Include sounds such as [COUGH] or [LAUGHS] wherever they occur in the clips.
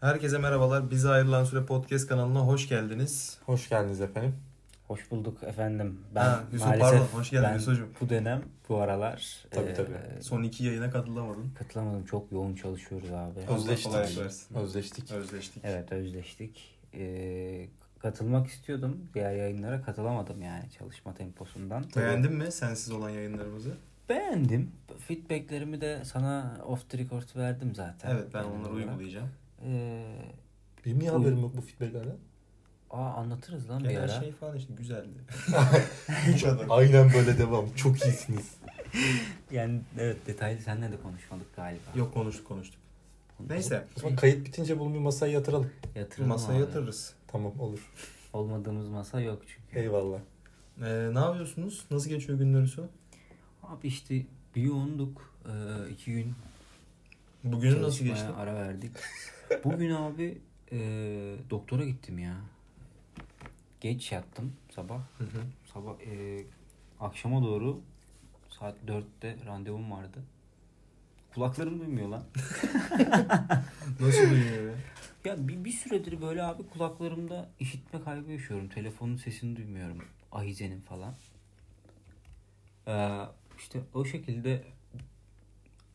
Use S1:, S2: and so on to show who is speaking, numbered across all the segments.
S1: Herkese merhabalar. Bize ayrılan süre podcast kanalına hoş geldiniz.
S2: Hoş geldiniz efendim.
S3: Hoş bulduk efendim. Ben
S1: Ha, Yusuf
S3: maalesef
S1: pardon. Hoş geldin
S3: ben
S1: Yusuf'cum.
S3: bu dönem bu aralar
S2: Tabii,
S3: e,
S2: tabii.
S1: Son iki yayına katılamadım.
S3: katılamadım. Çok yoğun çalışıyoruz abi.
S1: Allah
S2: Özleştik.
S1: kolaylık versin.
S2: Özleştik.
S1: Özleştik.
S3: Evet özleştik. E, katılmak istiyordum. Diğer yayınlara katılamadım yani çalışma temposundan.
S1: Beğendin mi sensiz olan yayınlarımızı?
S3: Beğendim. Feedbacklerimi de sana off the record verdim zaten.
S1: Evet ben
S3: Genel
S1: onları
S3: olarak.
S1: uygulayacağım.
S3: E,
S2: Benim niye
S3: Buyurun.
S2: haberim yok bu feedbacklerden?
S3: aa anlatırız lan bir
S1: Genel
S3: ara.
S1: şey falan işte güzeldi.
S2: Üç adam. Aynen böyle devam. Çok
S3: [LAUGHS]
S2: iyisiniz.
S3: Yani evet detaylı seninle de konuşmadık galiba.
S1: Yok konuştuk konuştuk. Neyse
S2: O zaman kayıt bitince bunu bir masaya yatıralım.
S3: Yatırım
S1: masaya
S3: abi.
S1: yatırırız.
S2: Tamam olur.
S3: Olmadığımız masa yok çünkü.
S2: Eyvallah.
S1: Ee, ne yapıyorsunuz? Nasıl geçiyor günleri su?
S3: Abi işte bir yoğunduk. Ee, iki gün
S1: Bugünü nasıl
S3: çalışmaya
S1: geçti?
S3: ara verdik. Bugün abi e, doktora gittim ya. Geç yattım sabah.
S1: Hı hı.
S3: Sabah e, akşama doğru saat 4'te randevum vardı. Kulaklarım duymuyor lan.
S1: [LAUGHS] Nasıl duyuyor be?
S3: Ya bir, bir süredir böyle abi kulaklarımda işitme kaybı yaşıyorum. Telefonun sesini duymuyorum. Ahize'nin falan. Ee, işte o şekilde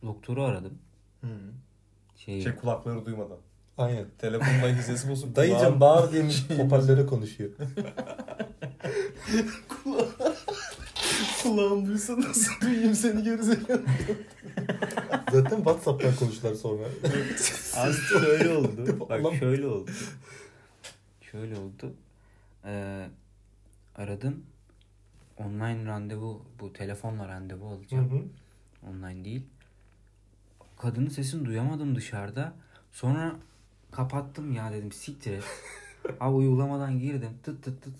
S3: doktoru aradım.
S1: Hı.
S3: Şey,
S1: Şey kulakları duymadan.
S2: Aynen.
S1: Telefonla hizesi bozuk.
S2: Dayıcım
S1: Kulağım-
S2: bağır diye
S3: [LAUGHS]
S2: mi hoparlöre konuşuyor.
S1: [LAUGHS] Kulağım duysa nasıl duyayım seni gerizekalı.
S2: Zaten Whatsapp'tan konuştular
S3: [LAUGHS]
S2: sonra. [LAUGHS]
S3: Az şöyle oldu.
S2: Oğlum.
S3: Bak şöyle oldu. Şöyle oldu. Ee, aradım. Online randevu, bu telefonla randevu
S2: Hı
S3: alacağım.
S2: hı.
S3: Online değil. Kadının sesini duyamadım dışarıda. Sonra kapattım ya dedim
S2: [LAUGHS]
S3: siktir et. Abi uygulamadan girdim. Tıt tıt tıt.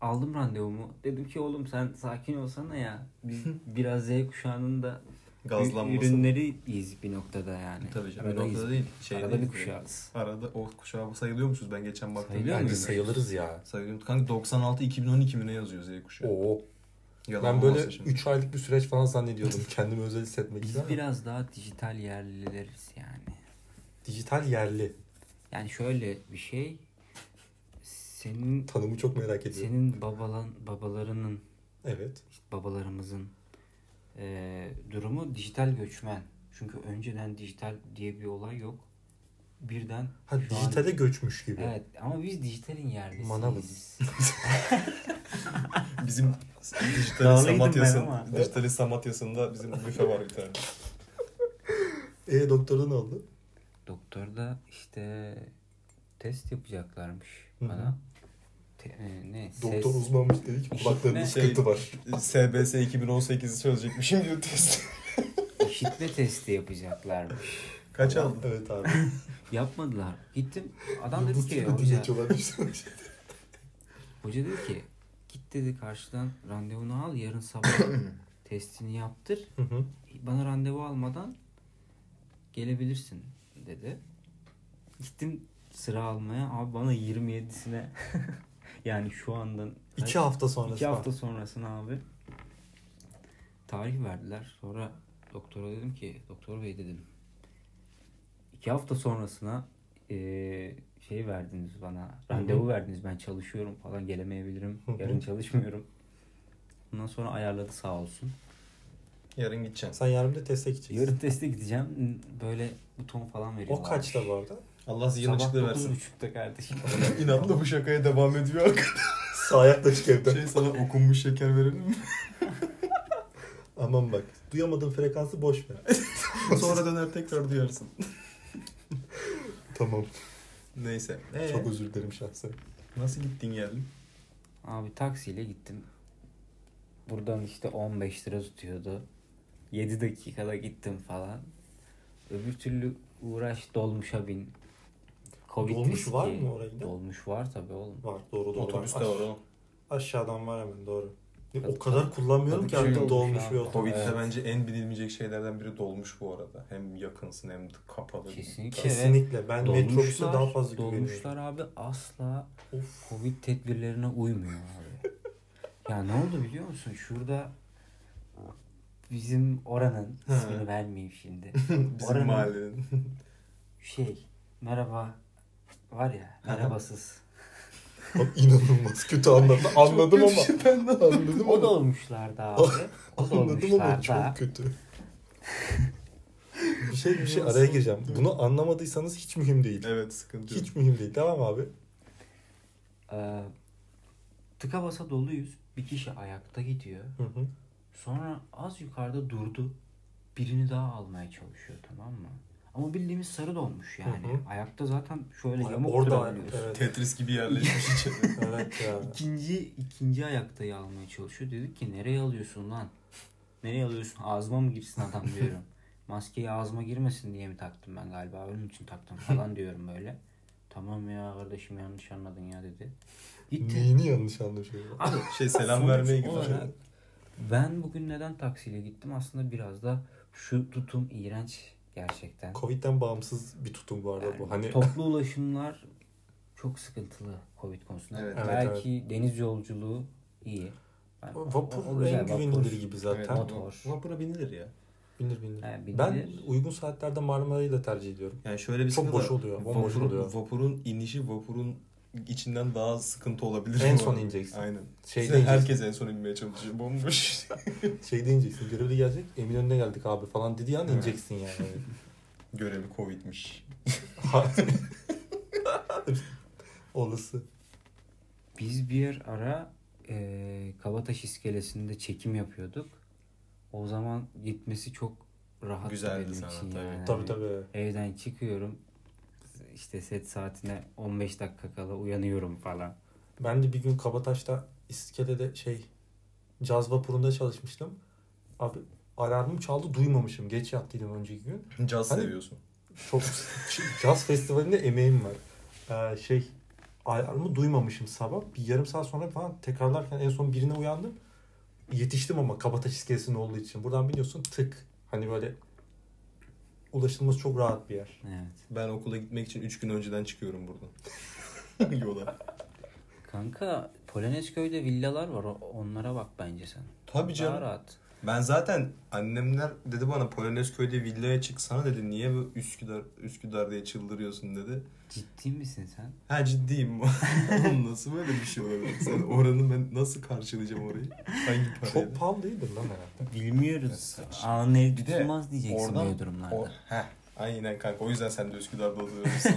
S3: Aldım randevumu. Dedim ki oğlum sen sakin olsana ya.
S2: [LAUGHS]
S3: Biz biraz Z kuşağının da
S1: Gazlanması.
S3: ürünleriyiz bir noktada yani.
S1: Tabii canım. Bir
S3: Aradayız.
S1: noktada değil. Şey
S3: Arada
S1: değil.
S3: bir kuşağız.
S1: Arada o kuşağı sayılıyor musunuz? Ben geçen baktım.
S3: Sayılıyor
S2: Bence
S3: muyuz?
S2: sayılırız ya.
S1: Sayılıyor. Kanka 96 2012 mi ne yazıyor Z kuşağı?
S2: Oo.
S1: Yalan
S2: Ben
S1: olmasa
S2: böyle
S1: şimdi.
S2: 3 aylık bir süreç falan zannediyordum.
S3: [LAUGHS]
S2: Kendimi özel hissetmek için.
S3: Biz
S2: ama
S3: biraz daha dijital yerlileriz yani.
S2: Dijital yerli.
S3: Yani şöyle bir şey senin
S2: Tanımı çok merak ediyorum.
S3: senin babalan babalarının
S2: Evet.
S3: babalarımızın eee, durumu dijital göçmen. Çünkü önceden dijital diye bir olay yok. Birden
S2: Ha
S3: şu an-
S2: dijitale göçmüş gibi.
S3: Evet ama biz dijitalin yerlisiyiz.
S2: Manavız.
S1: [LAUGHS] Bizim dijital
S3: Dağlıydım
S1: Samatya'sın,
S3: ben ama.
S1: dijital Samatya'sında bizim büfe var bir tane.
S2: E doktorda ne oldu?
S3: Doktor da işte test yapacaklarmış
S2: Hı hı.
S3: bana. Te- e, ne?
S2: Doktor
S3: ses- şey-
S2: uzmanmış dedi ki kulaklarında
S3: İşitme-
S2: sıkıntı var.
S1: SBS 2018'i çözecekmişim diyor test.
S3: işitme testi yapacaklarmış.
S1: [LAUGHS] Kaç aldın?
S2: Evet abi.
S3: Yapmadılar. Gittim. Adam dedi
S2: Yıldız
S3: ki
S2: gibi
S3: hoca,
S2: dinletiyorlar bir sürü şey.
S3: hoca dedi ki git dedi karşıdan randevunu al
S2: [CLEARS THROAT]
S3: yarın sabah testini yaptır. Bana randevu almadan gelebilirsin dedi. Gittim sıra almaya. Abi bana 27'sine [LAUGHS] yani şu andan
S2: İki hafta sonrası.
S3: İki hafta
S2: var.
S3: sonrasına abi tarih verdiler. Sonra doktora dedim ki doktor bey dedim. iki hafta sonrasına eee, şey verdiniz bana randevu verdiniz ben çalışıyorum falan gelemeyebilirim
S2: Hı hı.
S3: yarın çalışmıyorum. Ondan sonra ayarladı sağ olsun.
S1: Yarın gideceksin.
S2: Sen yarın bir de teste gideceksin.
S3: Yarın teste gideceğim böyle buton falan veriyor.
S2: O kaçta bu arada?
S1: Allah zihin
S3: Sabah
S1: açıklığı versin.
S3: 9.30'da kardeşim.
S1: [LAUGHS] İnatla bu şakaya devam ediyor arkadaş.
S2: Sağ yaklaşık evden.
S1: Şey sana okunmuş şeker verelim mi?
S2: Aman bak. Duyamadığın frekansı boş ver.
S1: [LAUGHS] Sonra döner tekrar duyarsın.
S2: [LAUGHS] tamam.
S1: Neyse. Ee,
S2: Çok özür dilerim şahsen.
S1: nasıl gittin geldin?
S3: Abi taksiyle gittim. Buradan işte 15 lira tutuyordu. 7 dakikada gittim falan. Öbür türlü uğraş dolmuşa bin.
S2: Dolmuş
S3: riski.
S2: var mı orada?
S3: Dolmuş var tabii oğlum.
S2: Var doğru doğru.
S1: Otobüste
S2: Aş-
S1: var oğlum.
S2: Aşağıdan var hemen doğru. Ne,
S3: Tabii,
S2: O kadar kullanmıyorum
S3: Tabii
S2: ki
S3: şey
S2: artık
S3: olmuş
S2: dolmuş
S3: ya.
S2: bir otobüs.
S1: Covid'de
S3: Evet.
S1: bence en bilinmeyecek şeylerden biri dolmuş bu arada. Hem yakınsın hem de kapalı.
S3: Kesinlikle.
S2: Kesinlikle. Ben
S3: Dolmuşlar-
S2: metrobüse daha fazla
S3: Dolmuşlar
S2: güveniyorum.
S3: abi asla
S2: Of.
S3: Covid tedbirlerine uymuyor
S2: [LAUGHS]
S3: abi. ya ne oldu biliyor musun? Şurada bizim oranın
S1: Ha.
S2: [LAUGHS]
S3: ismini vermeyeyim şimdi.
S1: Bizim
S3: Oranın
S1: mahallenin.
S3: şey merhaba var ya merhabasız.
S2: Abi inanılmaz kötü anladım. Anladım ama.
S1: Ben de
S2: Anladım
S3: o da
S2: ama.
S3: olmuşlardı abi. O da
S2: Oh. [LAUGHS] Anladım ama
S3: olmuşlardı.
S2: çok kötü. [LAUGHS] bir şey bir şey araya gireceğim. Bunu anlamadıysanız hiç mühim değil.
S1: Evet sıkıntı yok.
S2: Hiç mühim değil. Devam abi.
S3: Ee, tıka basa doluyuz. Bir kişi ayakta gidiyor.
S2: Hı hı.
S3: Sonra az yukarıda durdu. Birini daha almaya çalışıyor tamam mı? Ama bildiğimiz sarı dolmuş yani.
S2: Hı hı.
S3: Ayakta zaten şöyle
S2: Ay,
S3: yamuk
S2: orada
S3: durabiliyorsun.
S2: evet.
S1: Tetris gibi
S2: [LAUGHS]
S1: yerleşmiş içeri.
S2: Evet ya.
S3: İkinci, ikinci ayaktayı almaya çalışıyor. Dedik ki nereye alıyorsun lan? [LAUGHS] Nereye alıyorsun? Ağzıma mı girsin adam diyorum. Maskeyi ağzıma girmesin diye mi taktım ben galiba? Onun için taktım falan diyorum böyle. Tamam ya kardeşim yanlış anladın ya dedi. [LAUGHS] Gitti.
S2: Neyini yanlış anlaşıyor?
S3: Abi
S1: Şey selam
S3: sonuç
S1: vermeye gidiyor.
S3: olarak Ben bugün neden taksiyle gittim? Aslında biraz da şu tutum iğrenç gerçekten.
S2: Covid'den bağımsız bir tutum bu arada bu. [LAUGHS] Hani
S3: Toplu ulaşımlar çok sıkıntılı Covid konusunda.
S1: Evet,
S2: evet,
S3: Belki deniz yolculuğu iyi. Ben- o- o
S2: vapur
S3: güzel,
S2: en
S3: vapur.
S2: güveniliri gibi
S1: Evet,
S2: zaten.
S3: Motor.
S1: Vapura binilir ya.
S2: Bilir bilir.
S3: He, bilir.
S2: Ben uygun saatlerde Marmara'yı da tercih ediyorum.
S1: Yani şöyle bir
S2: Çok
S1: sıkıntı
S2: boş
S1: var.
S2: oluyor, bomboş
S1: Vapurun-
S2: oluyor.
S1: Vapurun inişi vapurun içinden daha sıkıntı olabilir.
S2: En
S1: bu
S2: son
S1: arada.
S2: ineceksin.
S1: Aynen.
S2: Şey
S1: Size
S2: diyeceksin,
S1: herkes en son inmeye çalışıyor. Bomboş. [LAUGHS]
S2: şey diyeceksin. Görevli gelecek. Eminönü'ne geldik abi falan dediği an
S1: Evet.
S2: ineceksin
S3: [LAUGHS]
S2: yani.
S1: Görevi Covid'miş.
S2: [LAUGHS] Olası.
S3: Biz bir ara eee Kabataş iskelesinde çekim yapıyorduk. O zaman gitmesi çok rahattı
S1: Güzeldi
S3: benim
S1: sana,
S3: için
S1: tabii.
S3: yani.
S2: Tabii tabii.
S3: Evden çıkıyorum. İşte set saatine 15 dakika kala uyanıyorum falan.
S2: Ben de bir gün Kabataş'ta iskelede şey caz vapurunda çalışmıştım. Abi alarmım çaldı duymamışım. Geç yattıydım önceki gün.
S1: Caz
S2: Hani-
S1: seviyorsun.
S2: Çok [LAUGHS] caz festivalinde emeğim var. Ee, şey alarmı duymamışım sabah. Bir yarım saat sonra falan tekrarlarken en son birine uyandım. Yetiştim ama Kabataş iskelesinin olduğu için. Buradan biliyorsun tık. Hani böyle ulaşılması çok rahat bir yer.
S3: Evet.
S1: Ben okula gitmek için 3 gün önceden çıkıyorum buradan. [LAUGHS] Yola.
S3: Kanka Polonezköy'de villalar var. O- Onlara bak bence sen.
S1: Tabii
S3: Daha
S1: canım.
S3: rahat.
S1: Ben zaten annemler dedi bana Polonezköy'de villaya çıksana dedi. Niye bu Üsküdar, Üsküdar diye çıldırıyorsun dedi.
S3: Ciddi misin sen?
S1: Ha ciddiyim. [LAUGHS] Oğlum nasıl böyle bir şey olabilir? Sen oranı ben nasıl karşılayacağım orayı? Hangi parayla?
S2: Çok pahalı değildir lan herhalde.
S3: Bilmiyoruz.
S1: Evet, saçma.
S3: Anı ev
S1: Bir de
S3: tutulmaz diyeceksin
S1: oradan-
S3: böyle durumlarda.
S1: O, heh, aynen kanka. O yüzden sen de Üsküdar'da [LAUGHS] oturuyorsun.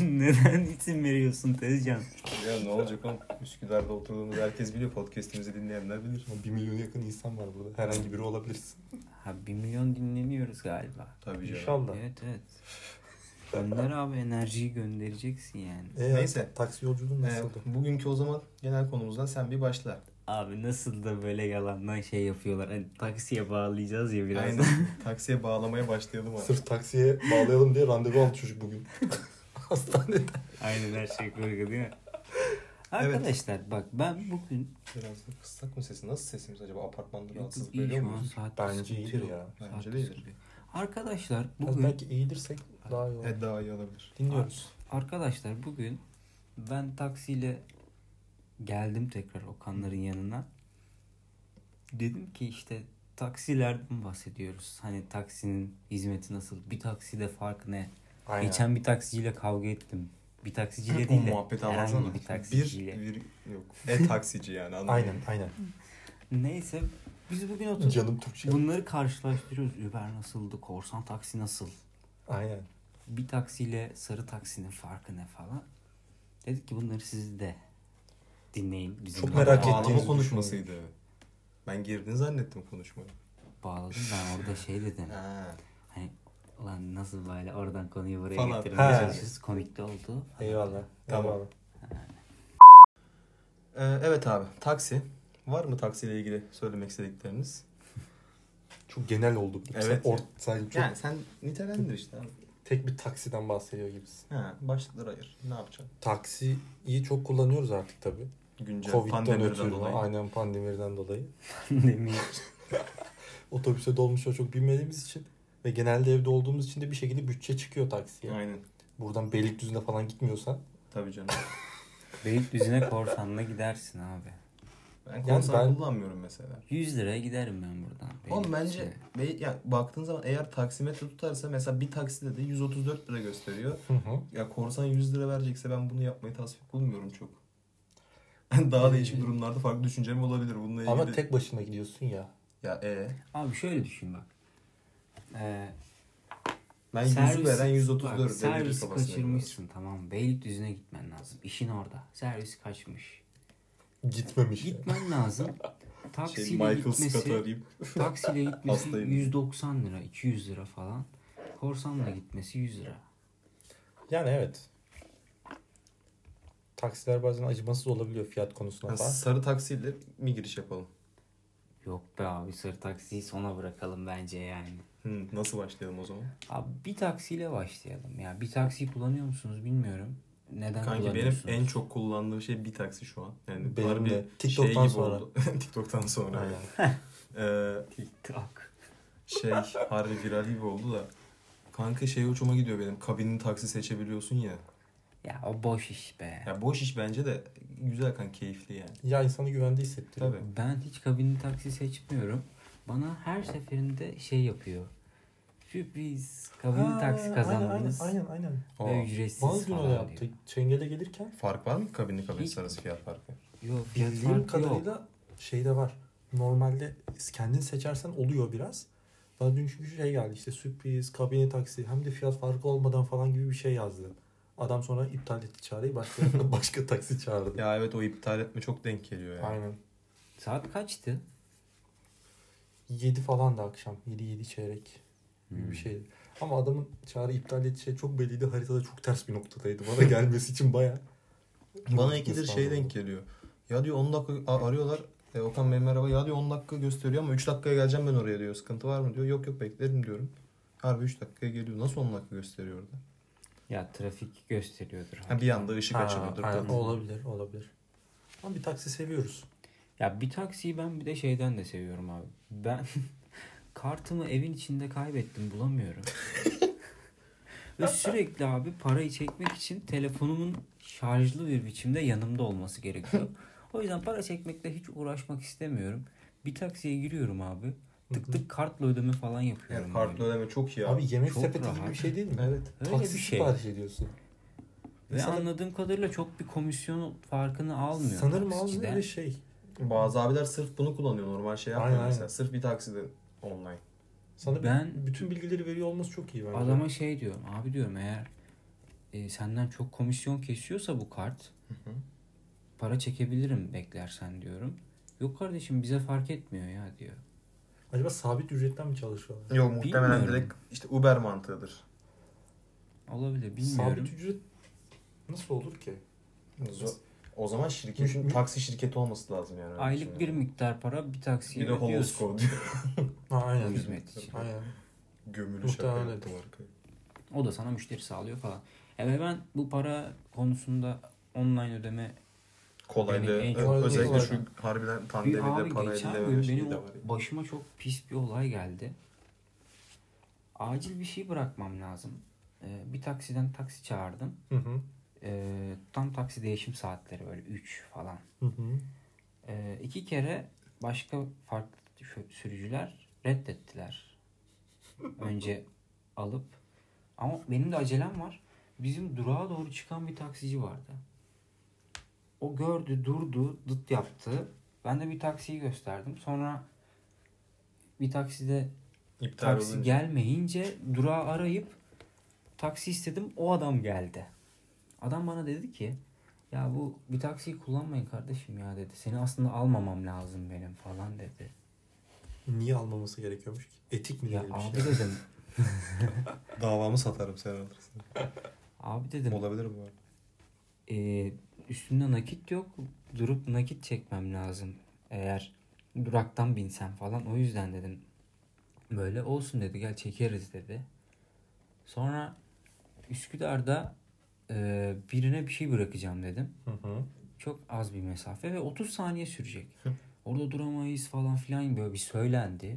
S3: Neden isim veriyorsun Tezcan?
S1: ya ne olacak oğlum? Üsküdar'da oturduğumuzu herkes biliyor. Podcast'imizi dinleyenler bilir.
S2: Ama Bir milyona yakın insan var burada. Herhangi biri olabilirsin.
S3: Ha 1 milyon dinleniyoruz galiba.
S1: Tabii canım.
S2: İnşallah.
S3: Evet evet. Gönder abi enerjiyi göndereceksin yani.
S2: Ee,
S1: Neyse.
S2: Taksi yolculuğu
S1: Ee,
S2: nasıldı?
S1: bugünkü o zaman genel konumuzdan sen bir başla.
S3: Abi nasıl da böyle yalandan şey yapıyorlar. Hani taksiye bağlayacağız ya biraz.
S1: Aynen. Taksiye bağlamaya başlayalım abi.
S2: Sırf taksiye bağlayalım diye randevu aldı çocuk bugün. [LAUGHS] Hastanede.
S3: [LAUGHS] Aynen her şey kurgu değil mi? Arkadaşlar bak ben bugün
S1: Biraz da kıssak mı sesi? Nasıl sesimiz acaba? Apartmanda rahatsızlık
S3: iyi
S1: veriyor
S3: şu an
S1: muyuz?
S3: saat
S2: Bence
S3: sıkıntı
S2: iyidir
S3: yok.
S2: ya.
S1: Bence
S3: Saat
S1: de iyidir.
S3: sıkıntı yok. Arkadaşlar
S2: Biraz
S3: bugün
S2: Belki eğilirsek daha iyi olur.
S1: Evet daha iyi olabilir.
S2: Dinliyoruz.
S3: arkadaşlar bugün ben taksiyle geldim tekrar Okanların yanına. Dedim ki işte taksilerden bahsediyoruz. Hani taksinin hizmeti nasıl? Bir takside fark ne?
S2: Aynen.
S3: Geçen bir taksiciyle kavga ettim. Bir taksiciyle
S1: O
S3: değil de
S1: muhabbeti
S3: herhangi
S1: anlatsana.
S3: bir
S1: bir,
S3: taksiciyle.
S1: bir, yok. E taksici yani anladın
S2: Aynen
S1: mı?
S2: aynen.
S3: Neyse biz bugün oturduk.
S2: Canım Türkçe.
S3: Bunları karşılaştırıyoruz. Uber nasıldı? Korsan taksi nasıl?
S2: Aynen.
S3: Bir taksiyle sarı taksinin farkı ne falan. Dedik ki bunları siz de dinleyin. Bizimle
S2: Çok merak
S3: bağla-
S2: ettiğiniz
S1: Bağlama
S2: düşünüyorum.
S1: konuşmasıydı. evet. Ben girdin zannettim konuşmayı.
S3: Bağladım ben orada şey dedim.
S1: Ha.
S3: Hani ulan nasıl böyle oradan konuyu buraya
S1: Falan.
S3: getirmeye
S2: He.
S3: çalışırız. Komik de oldu. [LAUGHS]
S2: Eyvallah.
S1: Tamam.
S2: Eyvallah.
S1: Ee, evet abi taksi. Var mı taksiyle ilgili söylemek istedikleriniz?
S2: Çok genel oldu.
S1: Evet.
S2: Sen, or, sen çok
S1: Yani sen nitelendir işte abi.
S2: tek bir taksiden bahsediyor gibisin.
S1: Ha, başlıkları ayır. Ne yapacaksın?
S2: Taksiyi çok kullanıyoruz artık tabii.
S1: Güncel
S2: Covid'den
S1: pandemiden
S2: ötürü.
S1: dolayı.
S2: Aynen pandemiden dolayı.
S3: Demi.
S2: Otobüse dolmuşa çok binmediğimiz için ve genelde evde olduğumuz için de bir şekilde bütçe çıkıyor taksiye.
S1: Aynen.
S2: Buradan Beylikdüzü'ne falan gitmiyorsan.
S1: Tabii canım.
S3: Beylikdüzü'ne korsanla gidersin abi.
S1: Ben konser
S2: ben-
S1: kullanmıyorum mesela.
S3: 100 liraya giderim ben buradan.
S1: Oğlum bence
S3: Benimkisi.
S1: be, ya baktığın zaman eğer taksimetre tutarsa mesela bir takside de 134 lira gösteriyor.
S2: Hı hı.
S1: Ya korsan 100 lira verecekse ben bunu yapmayı tasvip bulmuyorum çok. [LAUGHS] Daha değişik durumlarda farklı düşüncem olabilir bununla ilgili.
S2: Ama tek başına gidiyorsun ya.
S1: Ya e
S3: Abi şöyle düşün bak. Ee,
S1: ben 100 veren 134
S3: bak,
S1: verir
S3: Servis
S1: kafasına göre.
S3: kaçırmışsın tamam mı? Beylikdüzü'ne gitmen lazım. İşin orada. Servis kaçmış.
S2: Gitmemiş.
S3: Gitmen lazım. Taksiyle
S1: Şey, Michael Scott'ı
S3: gitmesi,
S1: arayıp
S3: [LAUGHS] taksiyle gitmesi
S1: Hastayım.
S3: 190 lira, 200 lira falan. Korsanla gitmesi 100 lira.
S2: Yani evet. Taksiler bazen acımasız olabiliyor fiyat konusunda
S1: Ya
S2: falan.
S1: sarı taksiyle mi giriş yapalım?
S3: Yok be abi sarı taksiyi sona bırakalım bence yani.
S1: Hı, nasıl başlayalım o zaman?
S3: Abi bir taksiyle başlayalım. Ya bir taksi kullanıyor musunuz bilmiyorum. Neden
S1: Kanki benim
S3: kullanıyorsunuz?
S1: en çok kullandığım şey bir taksi şu an. Yani
S2: Benim
S1: harbi şey
S2: de. TikTok'tan
S1: gibi
S2: sonra.
S1: oldu. [LAUGHS] TikTok'tan sonra.
S2: Aynen.
S1: Ee,
S3: TikTok.
S1: şey harbi viral gibi oldu da. Kanka şey hoşuma gidiyor benim. Kabinin taksi seçebiliyorsun ya.
S3: Ya o boş iş be.
S1: Ya boş iş bence de güzel kan keyifli yani.
S2: Ya insanı güvende hissettiriyor.
S1: Tabii.
S3: Ben hiç kabinli taksi seçmiyorum. Bana her seferinde şey yapıyor. Sürpriz. Kabinli
S2: Ha,
S3: taksi kazandınız.
S2: Aynen aynen. aynen.
S3: Ve
S1: Aa,
S3: ücretsiz
S2: Bana dün
S3: falan
S2: öyle
S3: yaptı.
S2: yaptı. Çengele gelirken
S1: fark var mı kabinli kabin
S3: Hiç-
S1: arası fiyat farkı?
S3: Yok fiyat
S2: bildiğim
S3: farkı yok.
S2: kadarıyla şey de var. Normalde kendin seçersen oluyor biraz. Bana dün çünkü şey geldi işte sürpriz, kabine taksi hem de fiyat farkı olmadan falan gibi bir şey yazdı. Adam sonra iptal etti çağrıyı başka, [LAUGHS] başka taksi çağırdı.
S1: Ya evet o iptal etme çok denk geliyor yani.
S2: Aynen.
S3: Saat kaçtı?
S2: 7 falan da akşam. 7 7 çeyrek gibi bir şeydi. Ama adamın çağrı iptal ettiği şey çok belliydi. Haritada çok ters bir noktadaydı. Bana gelmesi için baya.
S1: Bana ikidir şey denk geliyor. Ya diyor 10 dakika a- arıyorlar. E, Okan Bey merhaba. Ya diyor 10 dakika gösteriyor ama 3 dakikaya geleceğim ben oraya diyor. Sıkıntı var mı diyor. Yok yok beklerim diyorum. Harbi 3 dakikaya geliyor. Nasıl 10 dakika gösteriyor orada?
S3: Ya trafik gösteriyordur.
S1: Ha, bir anda ışık
S2: Ha,
S1: açılıyordur.
S2: aynen.
S1: tabii.
S2: Olabilir olabilir. Ama bir taksi seviyoruz.
S3: Ya bir taksiyi ben bir de şeyden de seviyorum abi. Ben [LAUGHS] kartımı evin içinde kaybettim
S2: [LAUGHS]
S3: bulamıyorum. Ve sürekli abi parayı çekmek için telefonumun şarjlı bir biçimde yanımda olması gerekiyor.
S2: [LAUGHS]
S3: O yüzden para çekmekle hiç uğraşmak istemiyorum. Bir taksiye giriyorum abi. Tık tık kartla ödeme falan yapıyorum.
S1: Yani kartlı
S3: böyle.
S1: ödeme çok iyi abi.
S2: Abi yemek
S3: çok
S2: sepeti gibi
S3: rahat.
S2: bir şey değil mi?
S1: Evet.
S3: Öyle
S2: taksi
S3: bir şey.
S2: sipariş ediyorsun.
S3: Ve anladığım kadarıyla çok bir komisyon farkını almıyor.
S2: Sanırım az
S3: taksiciden.
S2: öyle şey.
S1: Bazı abiler sırf bunu kullanıyor. Normal şey yapmıyor
S2: Aynen,
S1: mesela.
S2: aynen.
S1: Sırf bir takside online.
S2: Sana
S3: Ben-
S2: ben, bütün bilgileri veriyor olması çok iyi bence.
S3: Adama şey diyorum abi diyorum eğer e, senden çok komisyon kesiyorsa bu kart
S1: hı.
S3: para çekebilirim beklersen diyorum. Yok kardeşim bize fark etmiyor ya diyor.
S2: Acaba sabit ücretten mi çalışıyorlar?
S1: Yok muhtemelen
S3: Bilmiyorum.
S1: direkt işte Uber mantığıdır.
S3: Olabilir bilmiyorum.
S1: şey
S2: Sabit ücret nasıl olur ki?
S1: Zo- O zaman şirketin
S2: Hı hı.
S1: taksi şirketi olması lazım yani. öyle
S3: Aylık bir
S1: düşünüyorum.
S3: miktar para bir taksiye
S1: Bir de
S3: ödüyorsun.
S1: Holoskop diyor.
S2: Ha, aynen.
S3: Hizmet için.
S2: Aynen.
S1: [LAUGHS] Gömülü şaka
S2: Muhtemelen
S1: yaptım
S2: öyledir.
S1: arkaya.
S3: O da sana müşteri sağlıyor falan. Evet ben bu para konusunda online ödeme
S1: Kolaydı.
S3: Yani en
S1: Ö-
S2: kolay
S1: Özellikle
S2: olan.
S1: şu harbiden
S3: bir
S1: pandemide
S3: abi
S1: para
S3: geçen
S1: edilememiş
S3: gün
S1: şey
S3: benim
S1: de
S3: o-
S1: var. ya.
S3: başıma çok pis bir olay geldi. Acil bir şey bırakmam lazım. Ee, bir taksiden taksi çağırdım.
S2: Hı hı.
S3: Ee, tam taksi değişim saatleri böyle 3 falan.
S2: Hı hı.
S3: Ee, iki kere başka farklı şö- sürücüler reddettiler. Önce alıp ama benim de acelem var. Bizim durağa doğru çıkan bir taksici vardı. O gördü, durdu, dıt yaptı. Ben de bir taksiyi gösterdim. Sonra bir takside
S1: İptal
S3: taksi
S1: olunca.
S3: gelmeyince durağı arayıp taksi istedim. O adam geldi. Adam bana dedi ki ya bu bir taksiyi kullanmayın kardeşim ya dedi. Seni aslında almamam lazım benim falan dedi.
S2: Niye almaması gerekiyormuş ki? Etik mi
S3: Ya
S2: diyelim
S3: abi
S2: şey?
S3: dedim.
S1: Davamı satarım sen alırsın. [LAUGHS]
S3: Abi dedim.
S1: Olabilir bu arada.
S3: "e, üstünde nakit yok. Durup nakit çekmem lazım. Eğer duraktan binsem falan. O yüzden dedim. Böyle olsun dedi. Gel çekeriz dedi. Sonra Üsküdar'da e, birine bir şey bırakacağım dedim.
S2: Hı hı.
S3: Çok az bir mesafe ve 30 saniye sürecek. Orada duramayız falan filan böyle bir söylendi.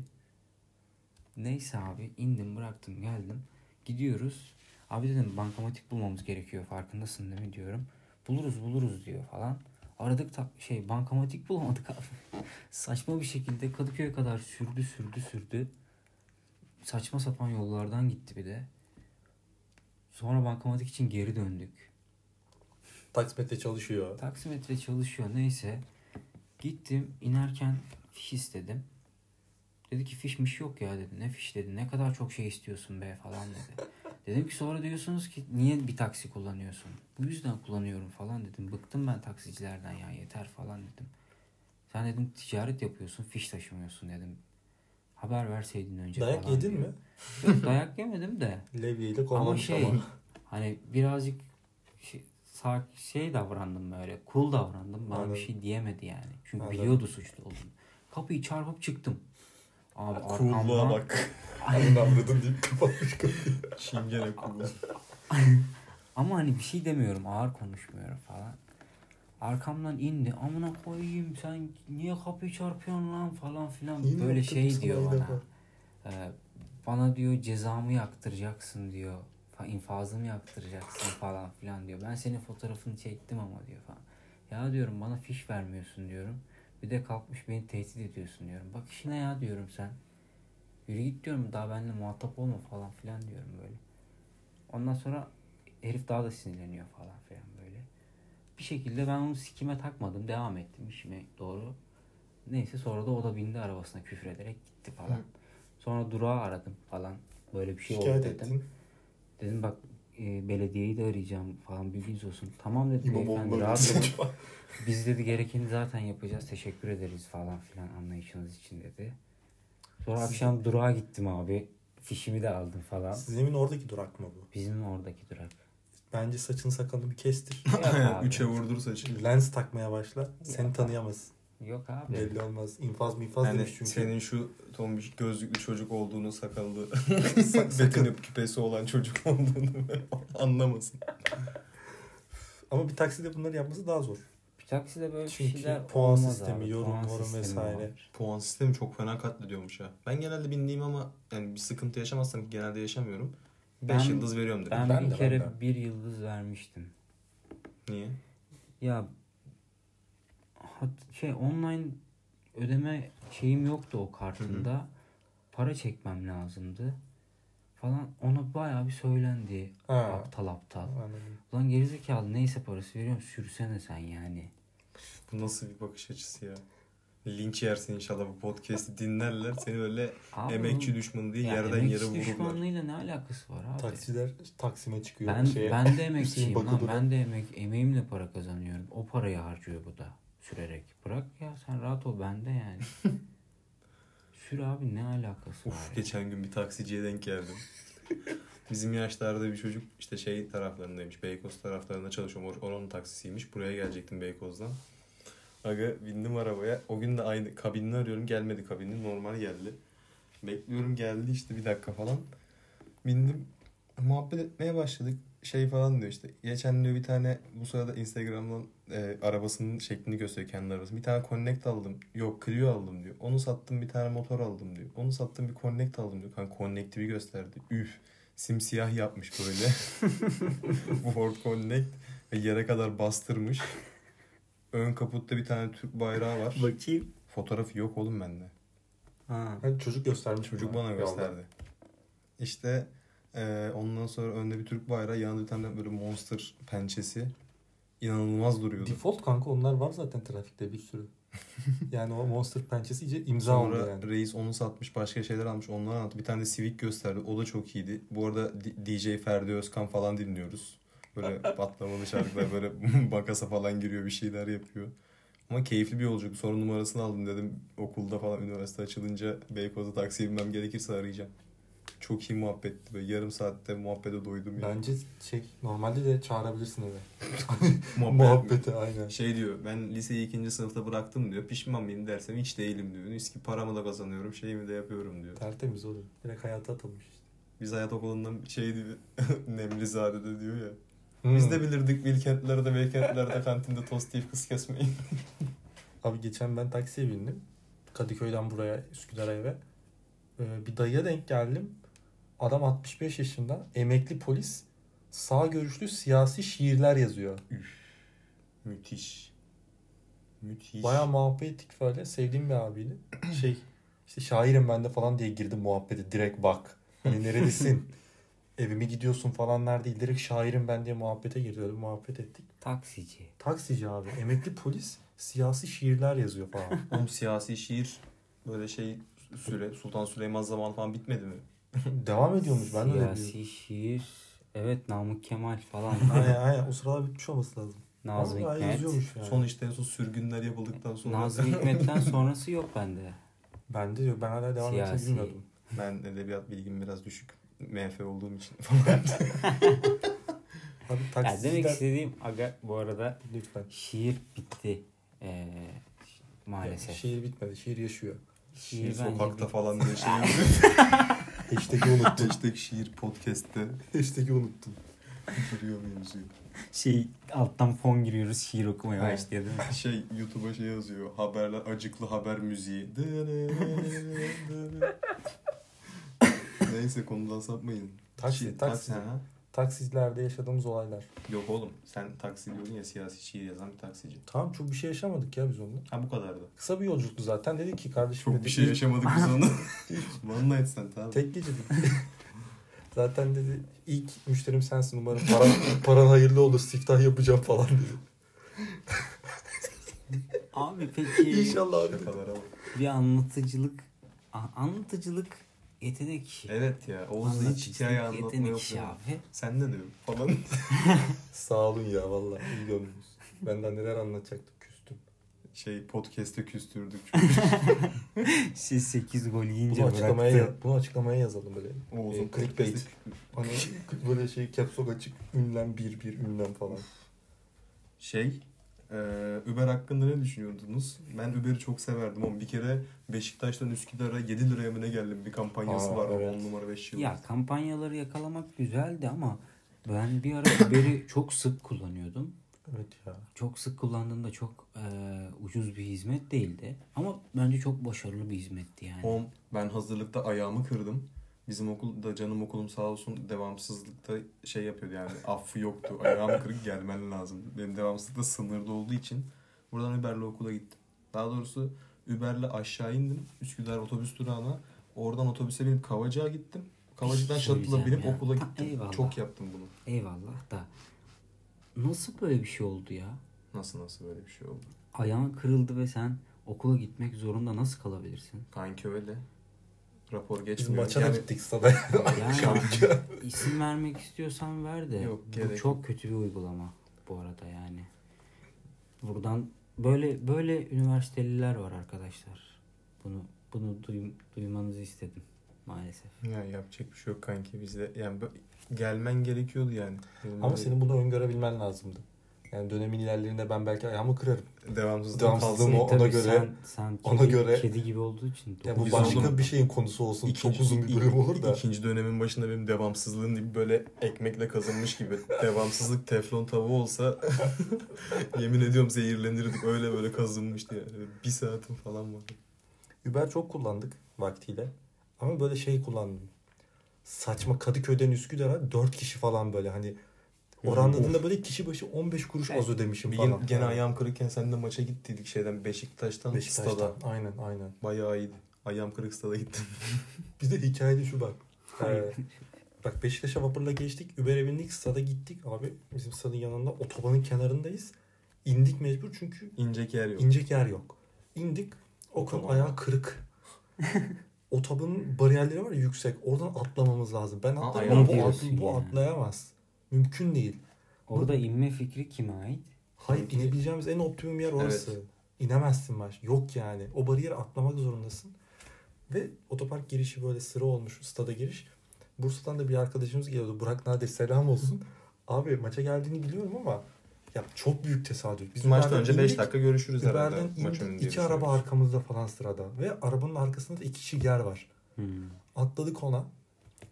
S3: Neyse abi indim bıraktım geldim. Gidiyoruz. Abi dedim bankamatik bulmamız gerekiyor farkındasın değil mi diyorum. Buluruz buluruz diyor falan. Aradık ta- şey bankamatik bulamadık abi. [LAUGHS] Saçma bir şekilde Kadıköy'e kadar sürdü sürdü sürdü. Saçma sapan yollardan gitti bir de. Sonra bankamatik için geri döndük.
S2: Taksimetre çalışıyor.
S3: Taksimetre çalışıyor neyse. Gittim inerken fiş istedim. Dedi ki fişmiş yok ya dedi. Ne fiş dedi. Ne kadar çok şey istiyorsun be falan dedi. [LAUGHS] dedim ki sonra diyorsunuz ki niye bir taksi kullanıyorsun? Bu yüzden kullanıyorum falan dedim. Bıktım ben taksicilerden ya yeter falan dedim. Sen dedim ticaret yapıyorsun fiş taşımıyorsun dedim. Haber verseydin önce
S2: Dayak
S3: falan
S2: yedin
S3: diyor.
S2: mi?
S3: Yok dayak yemedim de.
S2: Levye ile
S3: Ama
S2: konmamış
S3: şey
S2: ama.
S3: [LAUGHS] hani birazcık şey, sağ, şey davrandım böyle cool davrandım bana
S2: Anladım.
S3: bir şey diyemedi yani. Çünkü
S2: Anladım.
S3: biliyordu suçlu olduğumu. Kapıyı çarpıp çıktım. Abi
S2: Kulluğa
S3: arkamdan,
S2: bak. Anladın anladın deyip kapatmış kapıyı.
S1: [LAUGHS] Çingene kurulu.
S3: ama hani bir şey demiyorum ağır konuşmuyorum falan. Arkamdan indi amına koyayım sen niye kapıyı çarpıyorsun lan falan filan
S2: Yine
S3: böyle
S2: yaptım
S3: şey
S2: sana
S3: diyor
S2: yine
S3: bana.
S2: bak.
S3: Ee, bana diyor cezamı yaktıracaksın diyor. Fa- infazımı yaktıracaksın falan filan diyor. Ben senin fotoğrafını çektim ama diyor falan. Ya diyorum bana fiş vermiyorsun diyorum. Bir de kalkmış beni tehdit ediyorsun diyorum. Bak işine ya diyorum sen. Yürü git diyorum daha benimle muhatap olma falan filan diyorum böyle. Ondan sonra herif daha da sinirleniyor falan filan böyle. Bir şekilde ben onu sikime takmadım. Devam ettim işime doğru. Neyse sonra da o da bindi arabasına küfür ederek gitti falan. Sonra durağı aradım falan. Böyle bir şey
S2: Şikayet
S3: oldu dedim.
S2: ettin.
S3: Dedim bak e, belediyeyi de arayacağım falan bilginiz olsun. Tamam dedi beyefendi
S2: İmamoğlu'na
S3: rahat olun.
S2: gitsin.
S3: Biz dedi gerekeni zaten yapacağız. Teşekkür ederiz falan filan anlayışınız için dedi. Sonra akşam durağa gittim abi. Fişimi de aldım falan.
S2: Sizin evin oradaki durak mı bu?
S3: Bizim oradaki durak.
S2: Bence saçını sakalını bir kestir.
S3: Yok abi.
S1: Üçe vurdur saçını.
S2: Lens takmaya başla. Seni tanıyamaz.
S3: Yok abi.
S2: Belli olmaz. İnfaz mı infaz
S1: Yani
S2: demiş çünkü.
S1: senin şu tombiş gözlüklü çocuk olduğunu [LAUGHS] sakallı betin küpesi olan çocuk olduğunu [LAUGHS] anlamasın.
S2: Ama bir takside bunları yapması daha zor.
S3: Bir takside böyle bir
S2: Çünkü
S3: şeyler
S2: puan
S3: olmaz
S2: sistemi,
S3: abi.
S2: yorum,
S3: Puan
S2: yorum
S3: sistemi
S2: vesaire.
S3: var.
S1: Puan sistemi çok fena katlediyormuş ha. Ben genelde bindiğim ama yani bir sıkıntı yaşamazsam ki genelde yaşamıyorum. 5
S3: Ben-
S1: yıldız veriyorum direkt.
S3: Ben,
S2: Ben
S3: bir
S2: de,
S3: kere
S2: ben
S3: bir yıldız vermiştim.
S1: Niye?
S3: Ya hat- şey online ödeme şeyim yoktu o kartında. Para çekmem lazımdı. Falan ona bayağı bir söylendi.
S2: Ha.
S3: Aptal aptal.
S2: Anladım.
S3: Ulan gerizekalı neyse parası veriyorum sürüsene sen yani.
S1: Bu nasıl bir bakış açısı ya? Linç yersin inşallah bu podcast'i dinlerler. Seni öyle
S3: Abi
S1: emekçi
S3: oğlum,
S1: düşmanı değil
S3: ya
S1: yerden
S3: emekçi
S1: yere vururlar.
S3: düşmanlığıyla ne alakası var abi?
S2: Taksiler Taksim'e çıkıyor.
S3: ben,
S2: şeye. [LAUGHS]
S3: ben de emekçiyim lan.
S2: bakıldı da.
S3: Ben de emek, emeğimle para kazanıyorum. O parayı harcıyor bu da sürerek. Bırak ya sen rahat ol
S2: [LAUGHS]
S3: bende yani. Sür abi ne alakası var?
S1: Uf
S3: ya?
S1: geçen gün bir taksiciye denk geldim. Bizim yaşlarda bir çocuk işte şey taraflarındaymış. Beykoz taraflarında çalışıyor. Or- Oranın taksisiymiş. Buraya gelecektim Beykoz'dan. Aga bindim arabaya. O gün de aynı kabinini arıyorum. Gelmedi kabinini. Normal geldi. Bekliyorum geldi işte bir dakika falan. Bindim. Muhabbet etmeye başladık. Şey falan diyor işte. Geçen diyor bir tane bu sırada Instagram'dan e, arabasının şeklini gösteriyor kendi arabasını. Bir tane Connect aldım. Yok Clio aldım diyor. Onu sattım bir tane motor aldım diyor. Onu sattım bir Connect aldım diyor. Kanka Connect'i bir gösterdi. Üf. Simsiyah yapmış böyle. [LAUGHS] Ford Connect. Ve yere kadar bastırmış. Ön kaputta bir tane Türk bayrağı var.
S3: Bakayım.
S1: Fotoğrafı yok oğlum bende.
S3: Ha.
S2: Ben çocuk göstermiş
S1: Çocuk bana gösterdi. İşte e, ondan sonra önde bir Türk bayrağı, yanında bir tane böyle monster pençesi. İnanılmaz duruyordu.
S2: Default kanka onlar var zaten trafikte
S1: [LAUGHS]
S2: bir sürü. yani o Monster pençesi iyice imza
S1: Sonra [LAUGHS]
S2: oldu yani.
S1: reis onu satmış, başka şeyler almış, onları anlattı. Bir tane de Civic gösterdi. O da çok iyiydi. Bu arada D- DJ Ferdi Özkan falan dinliyoruz.
S2: [LAUGHS]
S1: Böyle patlamalı şarkılar, böyle [LAUGHS] bakasa falan giriyor, bir şeyler yapıyor. Ama keyifli bir yolculuk. Sonra numarasını aldım dedim. Okulda falan üniversite açılınca Beykoz'a taksiye binmem gerekirse arayacağım. Çok iyi muhabbetti. Böyle yarım saatte muhabbete doydum yani.
S2: Bence şey normalde de çağırabilirsin eve.
S1: [LAUGHS] Muhabbet-
S2: Muhabbete aynen.
S1: Şey diyor ben liseyi ikinci sınıfta bıraktım diyor. Pişman mıyım dersem hiç değilim diyor. Eski paramı da kazanıyorum şeyimi de yapıyorum diyor.
S2: Tertemiz oluyor. Direkt hayata atılmış işte.
S1: Biz hayat okulundan şey [LAUGHS] diyor. Nemlizade'de diyor ya.
S2: Hmm.
S1: Biz de bilirdik Bilkentlerde, Beykentlerde kantinde tost yiyip kız kesmeyi. [LAUGHS]
S2: Abi geçen ben taksiye bindim. Kadıköy'den buraya Üsküdar'a eve. Ee, bir dayıya denk geldim. Adam 65 yaşında. Emekli polis. Sağ görüşlü siyasi şiirler yazıyor.
S1: Müthiş. Müthiş.
S2: Bayağı muhabbet ettik böyle. Sevdiğim bir abiydi. [CLEARS THROAT] Şey işte şairim ben de falan diye girdi muhabbete. Direkt bak. Hani
S3: [LAUGHS]
S2: neredesin? Evime gidiyorsun falanlar değil. Direkt şairim ben diye muhabbete girdi. Öyle muhabbet ettik.
S3: Taksici.
S2: Taksici abi. Emekli polis siyasi şiirler yazıyor falan.
S1: [LAUGHS]
S3: [LAUGHS]
S1: Oğlum siyasi şiir böyle şey süre Sultan Süleyman zamanı falan bitmedi mi?
S2: Devam ediyormuş. Ben de öyle biliyorum.
S3: Siyasi şiir. Evet Namık Kemal falan.
S2: [LAUGHS] Aynen aynen. O sırada bitmiş olması lazım.
S3: Nazım
S2: Ama hala
S3: Hikmet.
S2: yazıyormuş yani.
S1: Son işte en son sürgünler yapıldıktan sonra
S3: Nazım Hikmet'ten sonrası yok bende.
S2: Ben de yok. Ben hala devam ettiğini
S3: Siyasi.
S2: bilmiyordum.
S1: [LAUGHS] ben edebiyat bilgim biraz düşük. MF olduğum için falan.
S2: Abi
S3: Ya demek
S2: taksiciler...
S3: istediğim aga bu arada
S2: Lütfen.
S3: şiir bitti. Ee, ş- maalesef.
S2: Şiir bitmedi. Şiir yaşıyor.
S1: şiir
S3: bence
S1: sokakta
S3: bitti.
S1: falan
S2: [LAUGHS]
S1: diye şey yapıyor.
S2: Hashtag'i
S3: [LAUGHS]
S2: unuttum.
S1: Hashtag şiir podcast'te
S2: Hashtag'i unuttum.
S1: giriyor mevzuyu.
S3: Şey alttan fon giriyoruz şiir okumaya
S2: Evet.
S3: başlıyor değil mi?
S1: [LAUGHS] Şey YouTube'a şey yazıyor. Haberler acıklı haber müziği. Neyse konudan sapmayın.
S2: Taksi,
S1: Şi-
S2: taksi.
S1: ha.
S2: Taksilerde yaşadığımız olaylar.
S1: Yok oğlum sen taksi diyordun ya siyasi şiir yazan bir taksici.
S2: Tamam çok bir şey yaşamadık ya biz onunla.
S1: Ha bu kadardı.
S2: Kısa bir yolculuktu zaten. Dedik ki kardeşim
S1: Çok
S2: dedik,
S1: bir şey yaşamadık biz onu. One night stand abi.
S2: Tek gecedik. [LAUGHS] zaten dedi ilk müşterim sensin umarım paran, paran hayırlı olur siftah yapacağım falan dedi.
S3: [LAUGHS] Abi peki
S2: İnşallah abi. dedi.
S1: Şakalara bak.
S3: bir anlatıcılık a- anlatıcılık yetenek.
S1: Evet ya Oğuz'da hiç hikaye
S3: Anlatıcılık
S1: anlatma yok.
S3: yetenek
S1: ya.
S3: [LAUGHS] abi.
S1: Sen de diyor falan. [LAUGHS]
S2: Sağ olun ya valla iyi gömdünüz. Ben daha neler anlatacaktım küstüm.
S1: Şey podcast'te küstürdük. çünkü.
S3: Siz 8 Şey, gol
S2: Bunu
S3: yiyince
S2: açıklamaya,
S3: bıraktı.
S2: bunu açıklamaya yazalım böyle.
S1: Oğuz'un
S2: Ee, clickbait.
S1: podcast'te-
S2: Hani
S1: [LAUGHS]
S2: böyle şey caps lock açık ünlem bir bir ünlem falan.
S1: Şey, e, Uber hakkında ne düşünüyordunuz? Ben Uber'i çok severdim ama bir kere Beşiktaş'tan Üsküdar'a 7 liraya mı ne geldim bir kampanyası
S2: Aa,
S1: var.
S2: evet.
S1: 10 numara 5 yıl.
S3: Ya kampanyaları yakalamak güzeldi ama ben bir ara [LAUGHS] Uber'i çok sık kullanıyordum.
S2: Evet ya.
S3: Çok sık kullandığımda çok e, ucuz bir hizmet değildi. Ama bence çok başarılı bir hizmetti yani.
S1: Oğlum, ben hazırlıkta ayağımı kırdım. Bizim okulda canım okulum sağ olsun devamsızlıkta şey yapıyordu yani affı yoktu. Ayağım kırık gelmen lazım. Benim devamsızlıkta sınırda olduğu için buradan Uber'le okula gittim. Daha doğrusu Uber'le aşağı indim. Üsküdar otobüs durağına. Oradan otobüse binip Kavacık'a gittim. Kavacık'tan
S3: şey
S1: shuttle'a
S3: diyeceğim
S1: binip
S3: ya.
S1: okula
S3: Ha,
S1: gittim.
S3: eyvallah.
S1: Çok yaptım bunu.
S3: Eyvallah da nasıl böyle bir şey oldu ya?
S1: Nasıl nasıl böyle bir şey oldu?
S3: Ayağın kırıldı ve sen okula gitmek zorunda nasıl
S2: [LAUGHS]
S3: kalabilirsin?
S1: Kanki öyle. Rapor
S2: Biz
S1: geçmiyor.
S2: maça
S1: Yani
S2: da
S1: [LAUGHS]
S2: gittik sadaya.
S3: Yani isim vermek istiyorsan ver de.
S1: Yok, gerek
S3: bu çok kötü bir uygulama bu arada yani. Buradan böyle böyle üniversiteliler var arkadaşlar. Bunu bunu duym- duymanızı istedim maalesef.
S1: Ya yapacak bir şey yok kanki bizde. Yani bö- gelmen gerekiyordu yani. Benim
S2: Ama
S1: de-
S2: senin bunu öngörebilmen lazımdı. Yani dönemin ilerlerinde ben belki ayağımı kırarım.
S1: devamsızlık
S2: Devamsızlık
S1: kalsın.
S2: o- ona göre-
S3: sen, sen
S2: ona
S3: kedi,
S2: göre-
S3: kedi gibi olduğu için
S2: Ya bu
S1: Biz
S2: başka
S1: oğlum-
S2: bir şeyin konusu olsun. Çok uzun bir bölüm olur da.
S1: İkinci dönemin başında benim devamsızlığım gibi böyle ekmekle kazınmış [LAUGHS] gibi. Devamsızlık teflon tavuğu olsa [LAUGHS] yemin ediyorum zehirlenirdik. Öyle böyle kazınmıştı yani. Bir saatim falan var.
S2: Uber çok kullandık vaktiyle. Ama böyle şey kullandım. Saçma Kadıköy'den Üsküdar'a 4 kişi falan böyle hani oranladığında böyle kişi başı 15 kuruş az ödemişim
S1: Bir
S2: falan.
S1: gün gene ayağım kırıkken seninle maça gittiydik şeyden Beşiktaş'tan,
S2: Beşiktaş'tan.
S1: stada.
S2: Aynen aynen.
S1: Bayağı iyiydi. Ayağım kırık stada gittim.
S2: Bir de hikayede şu [LAUGHS] bak. Ee, bak Beşiktaş'a vapurla geçtik. Uber'e bindik. Stada gittik. Abi bizim stadın yanında otobanın kenarındayız. İndik mecbur çünkü
S1: İnecek yer yok.
S2: İnecek yer yok. İndik. Okan
S1: Otoban.
S2: ayağı kırık. Otobanın bariyerleri var ya yüksek. Oradan atlamamız lazım. Ben
S1: Ha,
S2: atlamam.
S1: ayağı
S2: Bu, at,
S3: diyorsun
S2: bu
S3: yani.
S2: atlayamaz. Mümkün değil.
S3: Orada inme fikri kime ait?
S2: Hayır
S1: Tabii ki.
S2: inebileceğimiz en optimum yer orası. İnemezsin baş. Yok yani. O bariyeri atlamak zorundasın. Ve otopark girişi böyle sıra olmuş. Stada giriş. Bursa'dan da bir arkadaşımız geliyordu. Burak Nadir
S1: [LAUGHS]
S2: selam olsun. Abi maça geldiğini biliyorum ama ya çok büyük tesadüf. Biz
S1: Maçtan
S2: Uber'den
S1: önce 5
S2: indik.
S1: dakika görüşürüz herhalde.
S2: Uber'den
S1: Maç
S2: indik,
S1: önü diye
S2: iki araba
S1: düşünüyorum.
S2: arkamızda falan sırada. Ve arabanın arkasında da iki kişi yer var.
S3: Hmm.
S2: Atladık ona.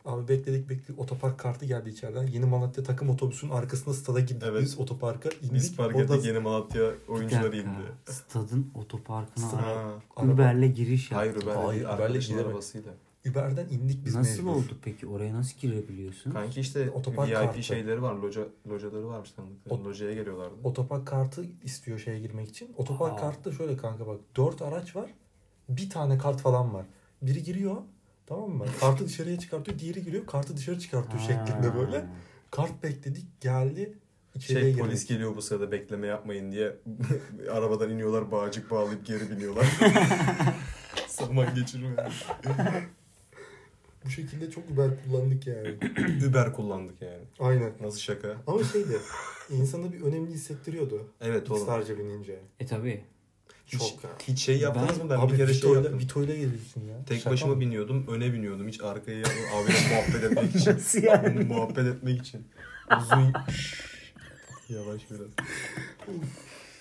S2: Abi bekledik bekledik otopark kartı geldi içeriden. Yeni Malatya takım otobüsünün arkasında stada gittik
S1: Evet.
S2: biz otoparka indik.
S1: Biz fark
S2: Orada
S1: ettik yeni Malatya
S3: Bir
S1: oyuncuları
S3: dakika.
S1: indi.
S3: Stadın otoparkına
S2: Stad-
S3: ara-
S1: Ha.
S2: araba-
S3: Uber'le giriş yaptı.
S1: Hayır Uber'le
S2: Hayır,
S1: değil.
S2: Uber'le
S1: Arkadaşın
S2: gidemedik.
S1: arabasıyla.
S2: Uber'den indik biz
S3: nasıl
S2: mecbur.
S3: oldu peki? Oraya nasıl girebiliyorsun?
S1: Kanki işte
S2: Otopark
S1: VIP
S2: kartı.
S1: şeyleri var. Loca, locaları varmış tanıdıkların.
S2: Ot-
S1: Locaya geliyorlardı.
S2: Otopark kartı istiyor şeye girmek için. Otopark
S3: Aa.
S2: kartı da şöyle kanka bak. Dört araç var. Bir tane kart falan var. Biri giriyor tamam mı? Kartı dışarıya çıkartıyor. Diğeri giriyor. Kartı dışarı çıkartıyor şeklinde böyle. Kart bekledik. Geldi. içeriye
S1: Şey
S2: girdik.
S1: polis geliyor bu sırada bekleme yapmayın diye [LAUGHS] arabadan iniyorlar bağcık bağlayıp geri
S2: [LAUGHS]
S1: biniyorlar. Saman geçirme.
S2: [CLEARS THROAT] Bu şekilde çok Uber kullandık yani.
S1: [CLEARS THROAT] Uber kullandık yani.
S2: Aynen.
S1: Nasıl şaka?
S2: Ama şeydi. insanı bir önemli hissettiriyordu.
S1: Evet oğlum.
S2: Starca binince.
S3: E tabi.
S1: Hiç,
S2: Çok ya.
S1: hiç şey yaptınız mı? Ben
S2: Abi
S1: bir kere şey
S2: Vito'yla-
S1: yaptım.
S2: Vito'yla geliyorsun ya.
S1: Tek
S2: Şaka
S1: başıma
S2: mı?
S1: biniyordum. Öne biniyordum. Hiç arkaya abiyle muhabbet etmek için.
S3: Nasıl yani?
S1: muhabbet etmek için. Uzun... Yavaş biraz.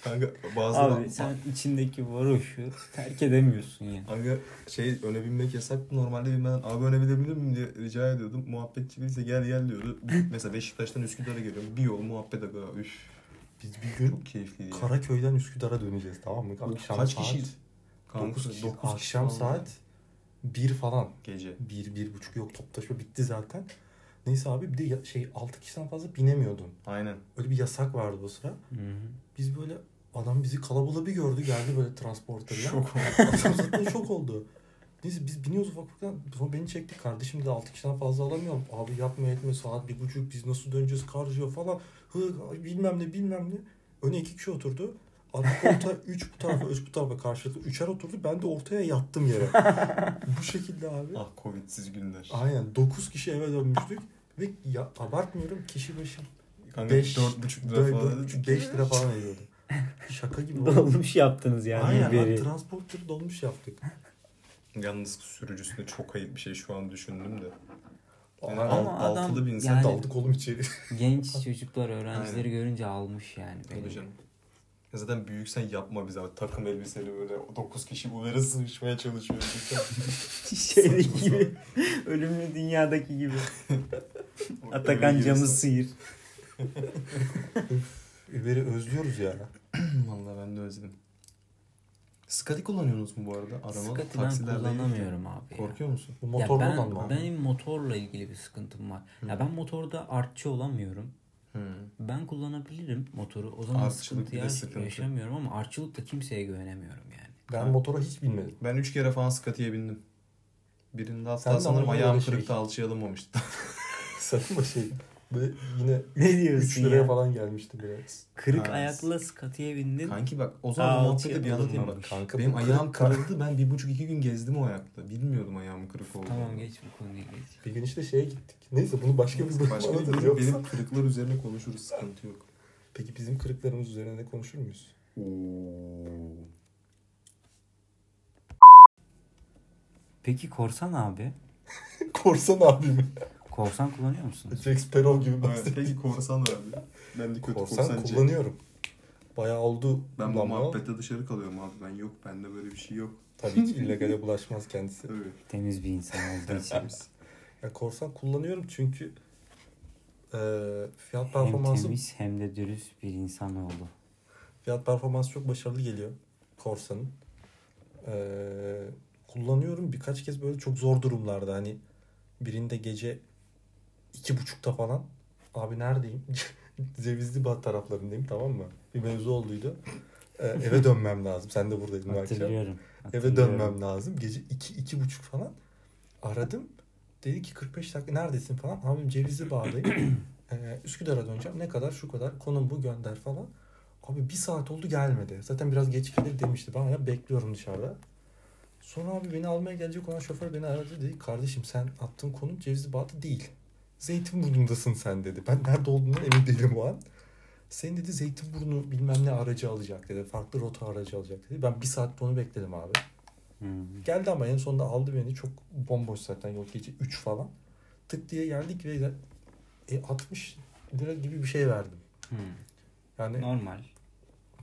S1: Kanka bazıları...
S3: Abi sen içindeki varoşu terk edemiyorsun yani.
S1: Kanka şey öne binmek yasak normalde binmeden abi öne binebilir miyim diye rica ediyordum. Muhabbetçi birisi gel gel diyordu. Mesela Beşiktaş'tan Üsküdar'a geliyorum. Bir yol muhabbet aga üf.
S2: Biz bir gün
S1: Çok keyifliydi. ya.
S2: Karaköy'den Üsküdar'a döneceğiz tamam mı? Akşam
S1: Kaç
S2: saat,
S1: kişiydi? Kanka,
S2: 9 kişi.
S1: dokuz kişi
S2: Akşam
S1: falan.
S2: saat 1 falan.
S1: Gece.
S2: 1, 1.30 yok toplaşma bitti zaten. Neyse abi bir de ya- şey 6 kişiden fazla binemiyordun.
S1: Aynen.
S2: Öyle bir yasak vardı o sıra. Biz böyle adam bizi kalabalığı bir gördü geldi böyle transporterla.
S1: Şok
S2: Adam zaten şok oldu. Neyse biz biniyoruz ufak ufak. Sonra beni çekti. Kardeşim de 6 kişiden fazla alamıyorum. Abi yapma etme saat bir buçuk biz nasıl döneceğiz karşıya falan. Hı, bilmem ne bilmem ne. Öne iki kişi oturdu. Arka koltuğa üç bu tarafa üç bu tarafa karşılıklı üçer oturdu. Ben de ortaya yattım yere. bu şekilde abi.
S1: Ah covidsiz günler.
S2: Aynen 9 kişi eve dönmüştük. Ve ya, abartmıyorum kişi başı
S1: Kanka
S2: 5
S1: Hani dört buçuk lira falan. dedik.
S2: 5 lira falan
S1: [LAUGHS]
S2: ediyordu. Şaka gibi. oldu.
S3: Dolmuş yaptınız yani
S2: Aynen lan,
S3: biri.
S2: transporter dolmuş yaptık.
S1: Yalnız sürücüsüne çok ayıp bir şey şu an düşündüm de. Yani
S2: Ama
S1: alt-
S3: adam
S1: altılı bir insan.
S3: yani-
S2: Daldık oğlum içeri. [LAUGHS]
S3: Genç çocuklar öğrencileri görünce almış yani.
S1: Tabii canım. Ya zaten büyüksen yapma bize abi. Takım elbiseli böyle 9 kişi Uber'e sığışmaya çalışıyoruz.
S3: Şeydeki gibi. Ölümlü dünyadaki gibi. [LAUGHS] Atakan
S1: Eve
S3: camı
S1: giriyorsun.
S3: sıyır.
S2: Uber'i özlüyoruz ya.
S1: Vallahi ben de özledim. Skadi kullanıyorsunuz mu bu arada? Araba
S3: Sıkıntı ben
S1: taksilerde
S3: kullanamıyorum abi. ya.
S1: Korkuyor musun?
S2: Bu
S3: Ya
S2: motorlu olan
S3: ben,
S2: mı? abi?
S3: benim motorla ilgili bir sıkıntım var. Ya ben motorda artçı olamıyorum. Ben kullanabilirim motoru. O zaman
S1: Artçılık
S3: sıkıntı,
S1: bir de
S3: yaş-
S1: sıkıntı.
S3: yaşamıyorum ama artçılıkta kimseye güvenemiyorum yani.
S2: Ben motora hiç binmedim. [LAUGHS]
S1: Ben 3 kere falan Skati'ye bindim. Birinde
S2: Sen de
S1: hatta
S2: ama
S1: sanırım
S2: böyle
S1: ayağım
S2: şey-
S1: kırıktı alçıya alınmamıştı.
S2: Saçma şey. Böyle yine
S3: [LAUGHS] Ne
S2: 3 liraya falan gelmişti biraz.
S3: Kırık
S1: Ha.
S3: ayakla skatiye bindin.
S1: Kanki bak o zaman
S3: Aa,
S1: muhabbete
S3: alçıya
S1: bir anlatayım bak.
S3: alınmamış.
S2: Kanka
S1: Benim
S2: bu
S1: ayağım
S2: kırık-
S1: kırıldı. Ben bir buçuk iki gün gezdim o ayakta. Bilmiyordum ayağım kırık olduğunu.
S3: Tamam geç bu konuyu geç.
S2: Bir gün işte şeye gittik. Neyse bunu başka bir zaman
S1: Başka bir
S2: anlatırız.
S1: benim kırıklar üzerine konuşuruz. Sıkıntı yok.
S2: Peki bizim kırıklarımız üzerine de konuşur muyuz? [LAUGHS]
S3: Peki korsan abi.
S2: Korsan abi mi?
S3: Korsan kullanıyor musunuz?
S2: Jack Sparrow gibi
S1: Evet,
S2: bahsediyor.
S1: peki korsan abi. Ben de kötü
S2: Korsan,
S1: korsan
S2: kullanıyorum. Bayağı oldu.
S1: Ben bu
S2: kullanma.
S1: muhabbete dışarı kalıyorum abi. Ben yok. Bende böyle bir şey yok.
S2: Tabii
S3: [LAUGHS]
S2: ki illegale bulaşmaz kendisi.
S1: Tabii.
S3: Temiz bir insan olduğu için.
S1: Tertemiz.
S2: Ya korsan kullanıyorum çünkü e, fiyat
S3: hem
S2: performansı
S3: temiz hem de dürüst bir insan oldu.
S2: Fiyat performansı çok başarılı geliyor Corsa'nın. Ee, kullanıyorum birkaç kez böyle çok zor durumlarda hani birinde gece iki buçukta falan abi neredeyim? [LAUGHS] Cevizli Bat taraflarındayım tamam mı? Bir mevzu olduydu. Ee,
S3: [LAUGHS]
S2: eve dönmem lazım. Sen de buradaydın bu akşam.
S3: Hatırlıyorum.
S2: Eve
S3: hatırlıyorum.
S2: dönmem lazım. Gece iki, iki buçuk falan aradım. Dedi ki 45 dakika neredesin falan. Abim Cevizli Bağ'dayım. Ee, Üsküdar'a döneceğim. Ne kadar şu kadar. Konum bu gönder falan. Abi bir saat oldu gelmedi. Zaten biraz geç gelir demişti. Ben hala bekliyorum dışarıda. Sonra abi beni almaya gelecek olan şoför beni aradı. Dedi kardeşim sen attığın konum Cevizli Bağ'da değil. Zeytinburnu'ndasın sen dedi. Ben nerede olduğundan emin değilim o an. Senin dedi Zeytinburnu bilmem ne aracı alacak dedi. Farklı rota aracı alacak dedi. Ben bir saat onu bekledim abi.
S3: Hı.
S2: Geldi ama en sonunda aldı beni. Çok bomboş zaten yol gece 3 falan. Tık diye geldik ve e, 60 lira gibi bir şey verdim.
S3: Hı.
S2: Yani
S3: Normal.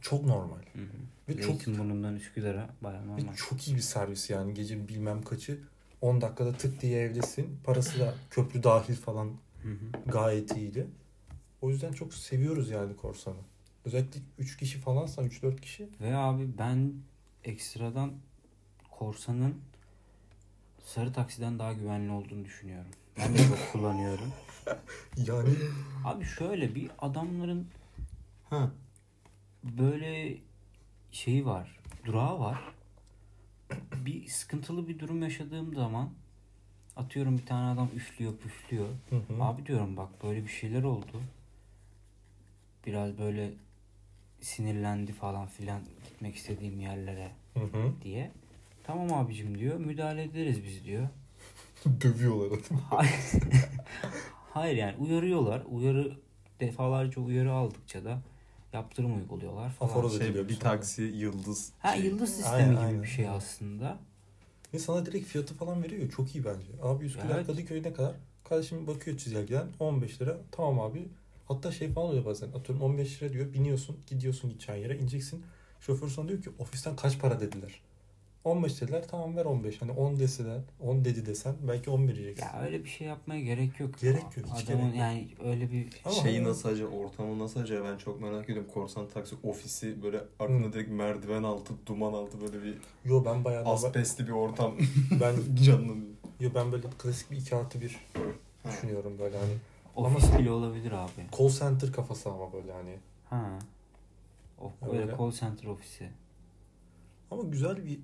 S2: çok normal.
S3: Hı hı.
S2: Ve çok
S3: Zeytinburnu'ndan Üsküdar'a bayağı
S2: ve
S3: normal.
S2: çok iyi bir servis yani gece bilmem kaçı 10 dakikada tık diye evdesin. Parası
S3: [LAUGHS]
S2: da köprü dahil falan
S3: Hı hı.
S2: gayet iyiydi. O yüzden çok seviyoruz yani korsanı. Özellikle 3 kişi falansan 3-4 kişi
S3: Ve abi ben ekstradan korsanın sarı taksiden daha güvenli olduğunu düşünüyorum. Ben de çok kullanıyorum.
S2: Yani
S3: Abi şöyle bir adamların
S2: ha.
S3: böyle şeyi var. Durağı var. Bir sıkıntılı bir durum yaşadığım zaman atıyorum bir tane adam üflüyor püflüyor.
S2: Hı hı.
S3: Abi diyorum bak böyle bir şeyler oldu. Biraz böyle sinirlendi falan filan gitmek istediğim yerlere
S2: Hı hı. [LAUGHS]
S3: diye. Tamam abicim diyor. Müdahale ederiz biz diyor.
S2: Dövüyorlar adamı.
S3: Hayır. Hayır yani uyarıyorlar. Uyarı defalarca uyarı aldıkça da yaptırım uyguluyorlar falan.
S2: Aforoz
S1: Şey,
S2: ediliyor
S1: bir
S2: sonra.
S1: taksi, yıldız.
S3: Ha
S1: şey.
S3: yıldız sistemi
S2: Aynen,
S3: gibi
S2: aynen.
S3: bir şey aslında.
S2: Ve sana direkt fiyatı falan veriyor. ya, Çok iyi bence. Abi Üsküdar
S3: Evet.
S2: Kadıköy ne kadar? Kardeşim bakıyor çizelgeden 15 lira. Tamam abi. Hatta şey falan oluyor bazen. Atıyorum 15 lira diyor. Biniyorsun. Gidiyorsun gideceğin yere. ineceksin. Şoför sana diyor ki ofisten kaç para dediler. 15 dediler. Tamam ver 15. Hani 10 deseler, 10 dedi desen belki 10 vereceksin.
S3: Ya öyle bir şey yapmaya gerek yok.
S2: Gerek yok, hiç
S3: Adamın
S2: gerek yok.
S3: yani öyle bir
S2: Ama
S1: Şeyi
S2: hani-
S1: nasıl acaba, ortamı nasıl acaba ben çok merak ediyorum. Korsan taksi ofisi böyle arkında direkt merdiven altı, duman altı böyle bir
S2: Yo ben bayağı normal-
S1: asbestli bir ortam
S2: ben
S1: canlanıyor.
S2: yo ben böyle klasik bir 2 artı 1 düşünüyorum böyle hani.
S3: ofis bile olabilir abi.
S2: Call center kafası ama böyle hani.
S3: Ha. O,
S2: Ya
S3: böyle
S2: öyle.
S3: call center ofisi.
S2: Ama güzel bir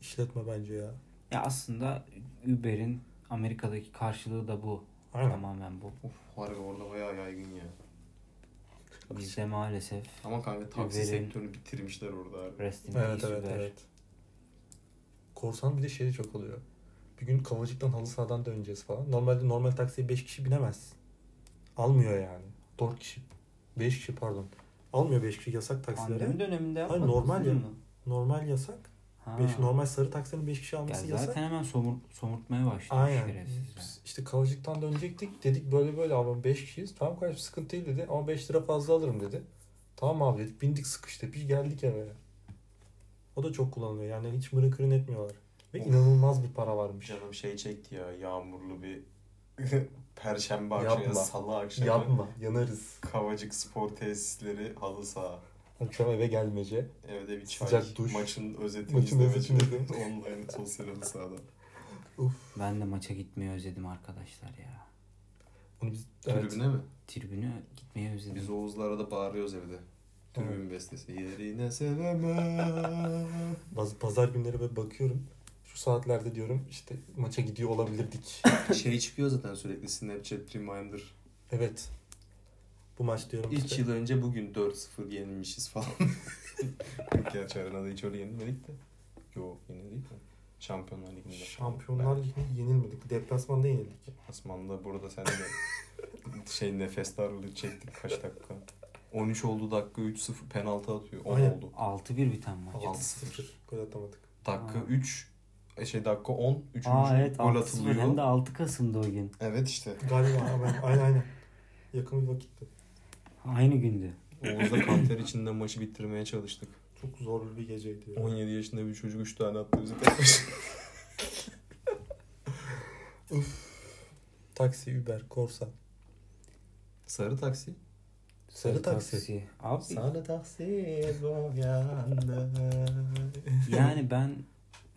S2: işletme bence ya.
S3: Ya aslında Uber'in Amerika'daki karşılığı da bu.
S2: Aynen.
S3: Tamamen bu.
S1: Of harbi orada bayağı yaygın ya.
S3: Bizde maalesef
S1: Ama kanka taksi
S3: Uber'in-
S1: sektörünü bitirmişler orada abi.
S3: rest in
S2: Evet
S3: peace
S2: evet
S3: Uber.
S2: evet. Korsan bir de şey de çok oluyor. Bir gün Kavacık'tan halı sahadan döneceğiz falan. Normalde normal taksiye 5 kişi binemez. Almıyor yani. 4 kişi. 5 kişi pardon. Almıyor 5 kişi yasak taksilere.
S3: Pandemi döneminde
S2: Hayır,
S3: yapmadınız
S2: normal
S3: değil
S2: ya.
S3: mi?
S2: Normal yasak.
S3: Ha.
S2: 5 normal sarı taksinin 5 kişi
S3: Ya
S2: alması
S3: zaten
S2: yasak.
S3: hemen somur, somurtmaya başlamış
S2: Aynen.
S3: şerefsizler.
S2: İşte Kavacık'tan dönecektik. Dedik böyle böyle ama 5 kişiyiz. Tamam kardeşim sıkıntı değil dedi. Ama 5 lira fazla alırım dedi. Tamam abi dedik. Bindik sıkıştı. Bir geldik eve. O da çok kullanılıyor. Yani hiç mırın kırın etmiyorlar. Ve
S1: Of.
S2: inanılmaz bir para varmış.
S1: Canım şey çekti ya yağmurlu bir [LAUGHS] perşembe
S2: Yapma.
S1: akşamı, salı akşamı.
S2: Yapma. Yanarız.
S1: Kavacık spor tesisleri halı saha.
S2: Akşam eve gelmece.
S1: Evde bir çay,
S2: Sıcak duş.
S1: maçın özetini
S2: Maçın
S1: maçın
S2: özetini
S1: izlemeci. [LAUGHS] Online sosyal halı sahada.
S3: Ben de maça gitmeyi özledim arkadaşlar ya.
S2: Onu biz, evet.
S1: Tribüne mi?
S3: Tribüne gitmeyi özledim.
S1: Biz Oğuz'la arada bağırıyoruz evde. Tribün
S2: Evet.
S1: bestesi. Yerine [LAUGHS] sevemem.
S2: Bazı pazar günleri böyle bakıyorum. Şu saatlerde diyorum işte maça gidiyor olabilirdik.
S1: şey çıkıyor zaten sürekli Snapchat Reminder.
S2: evet. Bu maç diyorum
S1: İlk
S2: işte.
S1: yıl önce bugün 4-0 yenilmişiz
S3: [LAUGHS]
S1: falan. Gerçi arenada hiç öyle yenilmedik de. Yo yenildik de. Şampiyonlar Ligi'nde.
S2: Şampiyonlar Ligi'ne yenilmedik. Deplasmanda yenildik.
S1: Asman'da burada sen de [LAUGHS] şey nefes darlığı çektik kaç dakika. 13 oldu dakika 3-0 penaltı atıyor. 10
S2: Aynen.
S1: oldu.
S3: 6-1 biten maç.
S2: 6-0. Gol atamadık.
S1: Dakika
S3: Aa.
S1: 3 şey dakika 10 3.
S3: Aa evet
S1: gol
S3: 6-0 hem de
S1: atılıyor.
S3: 6 Kasım'da o gün.
S1: Evet işte.
S2: Galiba aynen aynen. aynen. Yakın bir vakitte.
S3: Aynı gündü.
S1: Oğuz'la kanter içinde maçı bitirmeye çalıştık.
S2: Çok zorlu bir geceydi. ya.
S1: 17 yaşında bir çocuk 3 tane attı bize [LAUGHS] tek başına.
S2: Taksi, Uber, Korsa.
S1: Sarı taksi.
S2: Sarı taksi.
S3: Abi
S1: taksi boyandı.
S3: yani ben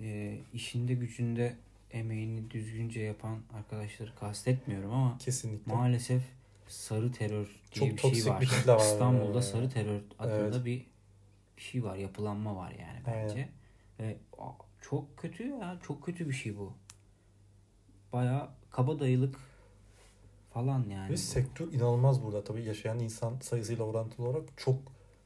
S3: e, işinde gücünde emeğini düzgünce yapan arkadaşları kastetmiyorum ama
S2: Kesinlikle.
S3: maalesef sarı terör diye
S2: Çok
S3: bir şey
S2: toksik
S3: var.
S2: bir kitle var.
S3: İstanbul'da
S2: Ya.
S3: sarı terör adında
S2: Evet.
S3: bir bir şey var, yapılanma var yani
S2: Aynen.
S3: bence. Ve a, çok kötü ya, çok kötü bir şey bu. Baya kabadayılık falan yani.
S2: Ve
S3: bu.
S2: sektör inanılmaz burada. Tabii yaşayan insan sayısıyla orantılı olarak çok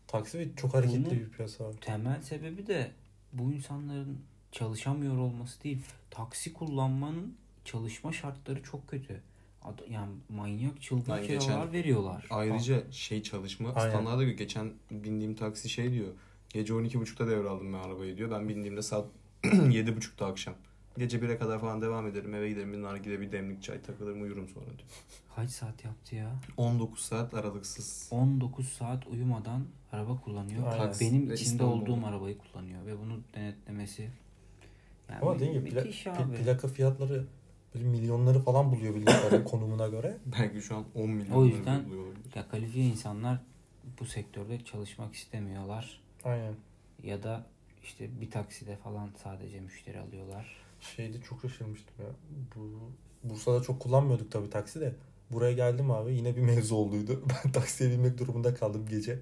S2: taksi ve çok hareketli
S3: Bunun-
S2: bir piyasa var.
S3: Temel sebebi de bu insanların çalışamıyor olması değil. Taksi kullanmanın çalışma şartları çok kötü. Ad- Yani manyak çılgın
S1: Ben geçen-
S3: kiralar veriyorlar.
S1: Ayrıca şey çalışma
S2: Aynen.
S1: standarda göre geçen bindiğim taksi şey diyor. Gece 12.30'da devraldım ben arabayı diyor. Ben bindiğimde saat [CLEARS THROAT] 7.30'da akşam. Gece 1'e kadar falan devam ederim. Eve giderim bir nargile bir demlik çay takılırım uyurum sonra diyor.
S3: Kaç saat yaptı ya?
S1: 19 saat aralıksız.
S3: 19 saat uyumadan araba kullanıyor.
S2: Aynen.
S3: Bak Benim
S1: Ve
S3: içinde
S1: İstanbul'da.
S3: olduğum arabayı kullanıyor ve bunu denetlemesi yani
S2: Ama dediğim gibi pla-
S3: müthiş
S2: pla-
S3: abi.
S2: plaka fiyatları böyle milyonları falan buluyor biletlerin konumuna göre.
S1: Belki şu an 10 milyon
S3: O
S1: lira
S3: yüzden-
S1: buluyor olabilir.
S3: Ya kalifiye insanlar bu sektörde çalışmak istemiyorlar
S2: Aynen.
S3: ya da işte bir takside falan sadece müşteri alıyorlar.
S2: Şeyde çok şaşırmıştım ya. Bu, Bursa'da çok kullanmıyorduk tabii taksi de. Buraya geldim abi yine bir mevzu olduydu. [LAUGHS] Ben taksiye binmek durumunda kaldım gece.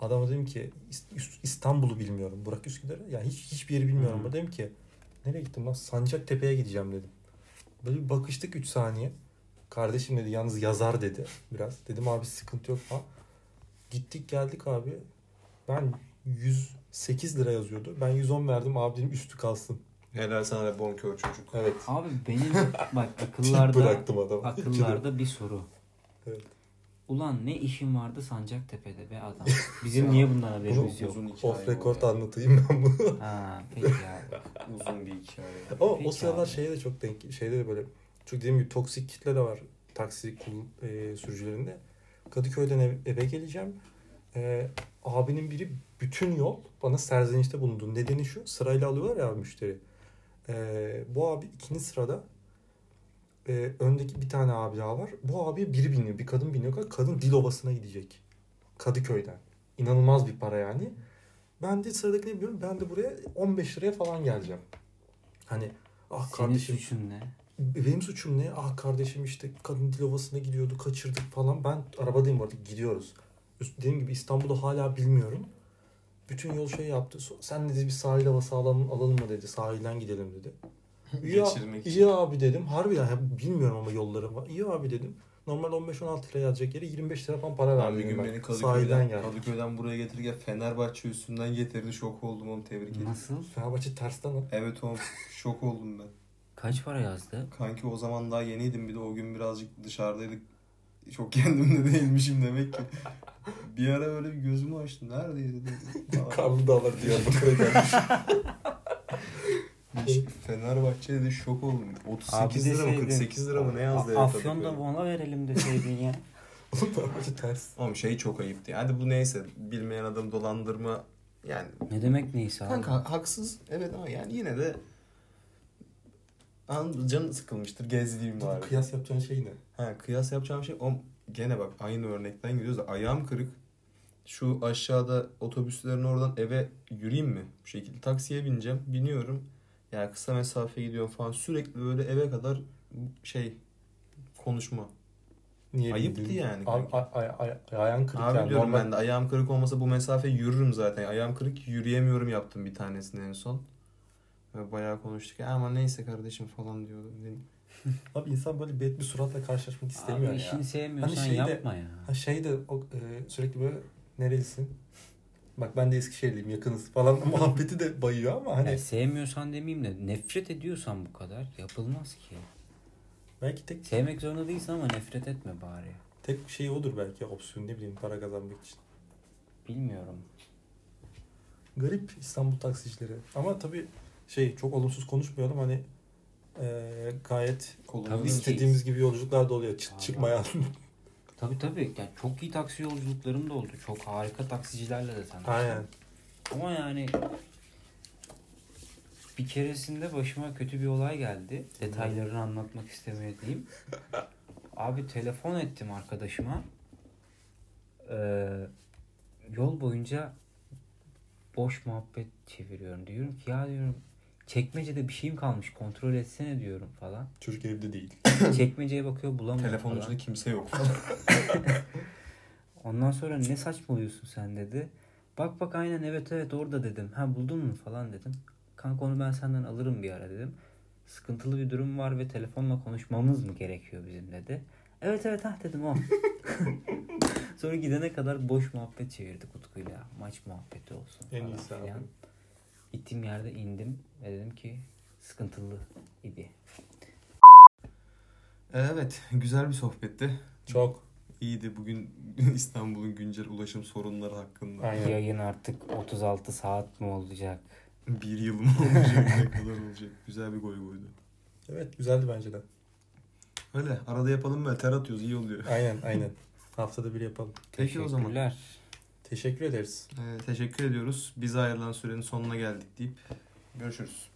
S2: Adama dedim ki "İs- İs- İstanbul'u bilmiyorum. Burak Üsküdar'ı. Yani hiç, hiçbir yeri bilmiyorum.
S3: Hı.
S2: Dedim ki nereye gittim lan? Sancaktepe'ye gideceğim dedim. Böyle bir bakıştık 3 saniye. Kardeşim dedi yalnız yazar dedi biraz. Dedim abi sıkıntı yok falan. Gittik geldik abi. Ben 108 lira yazıyordu. Ben 110 verdim abi dedim üstü kalsın.
S1: Helal sana be bonkör çocuk.
S2: Evet.
S3: Abi benim
S2: [LAUGHS]
S3: bak
S2: Tip
S3: akıllarda
S2: bıraktım adamı. [LAUGHS]
S3: akıllarda bir soru.
S2: Evet.
S3: Ulan ne işin vardı Sancaktepe'de be adam.
S2: [LAUGHS]
S3: Bizim niye bundan haberimiz şey yok?
S1: uzun
S2: Off
S1: bu
S2: record
S1: ya.
S2: anlatayım ben bunu.
S3: Ha peki abi.
S1: Uzun bir hikaye.
S2: [LAUGHS] Ama o
S3: Peki
S2: sıralar
S3: abi.
S2: şeye de çok denk. Şeyde de böyle. Çünkü dediğim gibi toksik kitle de var. Taksi kul- e, sürücülerinde. Kadıköy'den ev- eve geleceğim. E, abinin biri bütün yol bana serzenişte bulundu. Nedeni şu. Sırayla alıyorlar ya abi müşteri. E, bu abi ikinci sırada. E, öndeki bir tane abi daha var. Bu abiye biri biniyor. Bir kadın biniyor. Kadın Dilovası'na gidecek. Kadıköy'den. İnanılmaz bir para yani. Ben de sıradakini biliyorum. Ben de buraya 15 liraya falan geleceğim. Hani ah
S3: Senin
S2: kardeşim
S3: suçun ne?
S2: benim suçum ne? Ah kardeşim işte kadın dilovasına gidiyordu kaçırdık falan. Ben arabadayım artık gidiyoruz. Üst- Dediğim gibi İstanbul'u hala bilmiyorum. Bütün yol şey yaptı. So- Sen dedi bir sahil havası alalım, alalım mı dedi. Sahilden
S1: [LAUGHS]
S2: gidelim dedi. İyi,
S1: Geçirmek için.
S2: iyi abi dedim. Harbi ya ya bilmiyorum ama yolları var. İyi abi dedim. Normal 15-16 lira yazacak yere 25 lira falan para
S1: Abi bir
S2: verdim.
S1: gün
S2: ben.
S1: beni
S2: Sahilden
S1: Kadıköy'den,
S2: geldi.
S1: Kadıköy'den buraya getirirken Fenerbahçe üstünden getirdi. Şok oldum oğlum tebrik ederim.
S3: Nasıl?
S2: Fenerbahçe tersten al.
S1: Evet oğlum şok oldum ben.
S3: Kaç para yazdı?
S1: Kanki o zaman daha yeniydim bir de o gün birazcık dışarıdaydık. Çok [LAUGHS] kendimde değilmişim demek ki. Bir ara böyle bir gözümü açtım. Neredeydi
S3: [LAUGHS]
S1: dedim. Aa,
S2: [LAUGHS] Karlı Dağlar
S1: [LAUGHS]
S2: Diyarbakır'a gelmiş. [LAUGHS]
S1: Fenerbahçe'de de şok oldum. 38
S3: Abi
S1: lira mı
S3: deseydin.
S1: 48 lira mı ne yazdı? herif Kadıköy'de?
S3: Afyon'da ona verelim deseydin ya.
S2: Fenerbahçe ters.
S1: Oğlum şey çok ayıptı. Hadi bu neyse bilmeyen adam dolandırma yani
S3: [LAUGHS] ne demek neyse abi.
S1: kanka haksız evet ama yani yine de Anladın mı? canı sıkılmıştır gezdiğim var.
S2: Kıyas yapacağın şey ne?
S1: Ha kıyas yapacağım şey o gene bak aynı örnekten gidiyoruz da ayağım kırık. Şu aşağıda otobüslerin oradan eve yürüyeyim mi? Bu şekilde taksiye bineceğim. Biniyorum. Yani kısa mesafe gidiyorum falan. Sürekli böyle eve kadar şey konuşma.
S2: Niye
S1: Ayıptı
S2: bildin?
S1: yani
S2: Abi,
S1: kanka.
S2: ay, ay, ay, ayağın kırık
S1: Abi
S2: yani.
S1: diyorum
S2: Normal-
S1: ben de ayağım kırık olmasa bu mesafe yürürüm zaten. Ayağım kırık yürüyemiyorum yaptım bir tanesini en son. Ve bayağı konuştuk. "Ya Ama neyse kardeşim falan diyordu. Dedim,
S2: Abi insan böyle bet bir suratla karşılaşmak istemiyor
S3: Abi
S2: ya.
S3: işini sevmiyorsan
S2: Hani şeyde-
S3: yapma ya.
S2: Ha şey de o, e, sürekli böyle nerelisin? Bak ben de Eskişehirliyim yakınız falan [LAUGHS] muhabbeti de bayıyor ama hani
S3: Yani sevmiyorsan demeyeyim de nefret ediyorsan bu kadar yapılmaz ki.
S2: belki tek
S3: Sevmek zorunda değilsin ama nefret etme bari.
S2: tek şey odur belki opsiyon ne bileyim para kazanmak için.
S3: Bilmiyorum.
S2: Garip İstanbul taksicileri. Ama tabii şey çok olumsuz konuşmayalım hani e, gayet
S1: "Kolay
S3: Tabii
S1: gelsin."
S3: ki.
S2: istediğimiz gibi yolculuklar da oluyor. Çıt
S3: Aynen.
S2: çıkmayan. [LAUGHS]
S3: Tabii tabii. Yani çok iyi taksi yolculuklarım da oldu. Çok harika taksicilerle de tanıştım.
S2: Aynen.
S3: Ama yani bir keresinde başıma kötü bir olay geldi. Detaylarını anlatmak istemediğim. Abi telefon ettim arkadaşıma. Ee, yol boyunca boş muhabbet çeviriyorum. Diyorum ki ya diyorum çekmecede bir şeyim kalmış kontrol etsene diyorum falan.
S2: Çocuk evde değil.
S3: Çekmeceye bakıyor bulamıyor falan.
S1: Telefoncuda kimse yok.
S3: Ondan sonra ne saçmalıyorsun sen dedi. Bak bak aynen evet evet orada dedim. Ha buldun mu falan dedim. Kanka onu ben senden alırım bir ara dedim. Sıkıntılı bir durum var ve telefonla konuşmamız mı gerekiyor bizim dedi. Evet evet ha dedim o. [LAUGHS] sonra gidene kadar boş muhabbet çevirdik Utku'yla. Maç muhabbeti olsun.
S2: En
S3: falan
S2: iyisi abi.
S3: filan. Gittiğim yerde indim ve dedim ki sıkıntılı idi.
S1: evet güzel bir sohbetti.
S2: Çok.
S1: İyiydi bugün [LAUGHS] İstanbul'un güncel ulaşım sorunları hakkında.
S2: Aynen.
S3: Yayın artık 36 saat mi olacak?
S1: Bir yıl mı olacak ne kadar olacak. Güzel bir gol goydu.
S2: Evet güzeldi bence de.
S1: Öyle arada yapalım böyle ter atıyoruz iyi oluyor.
S2: Aynen aynen. Haftada bir yapalım.
S1: Peki o zaman.
S3: Teşekkürler.
S2: Teşekkür ederiz.
S1: Ee, teşekkür ediyoruz. Bize ayrılan sürenin sonuna geldik deyip görüşürüz.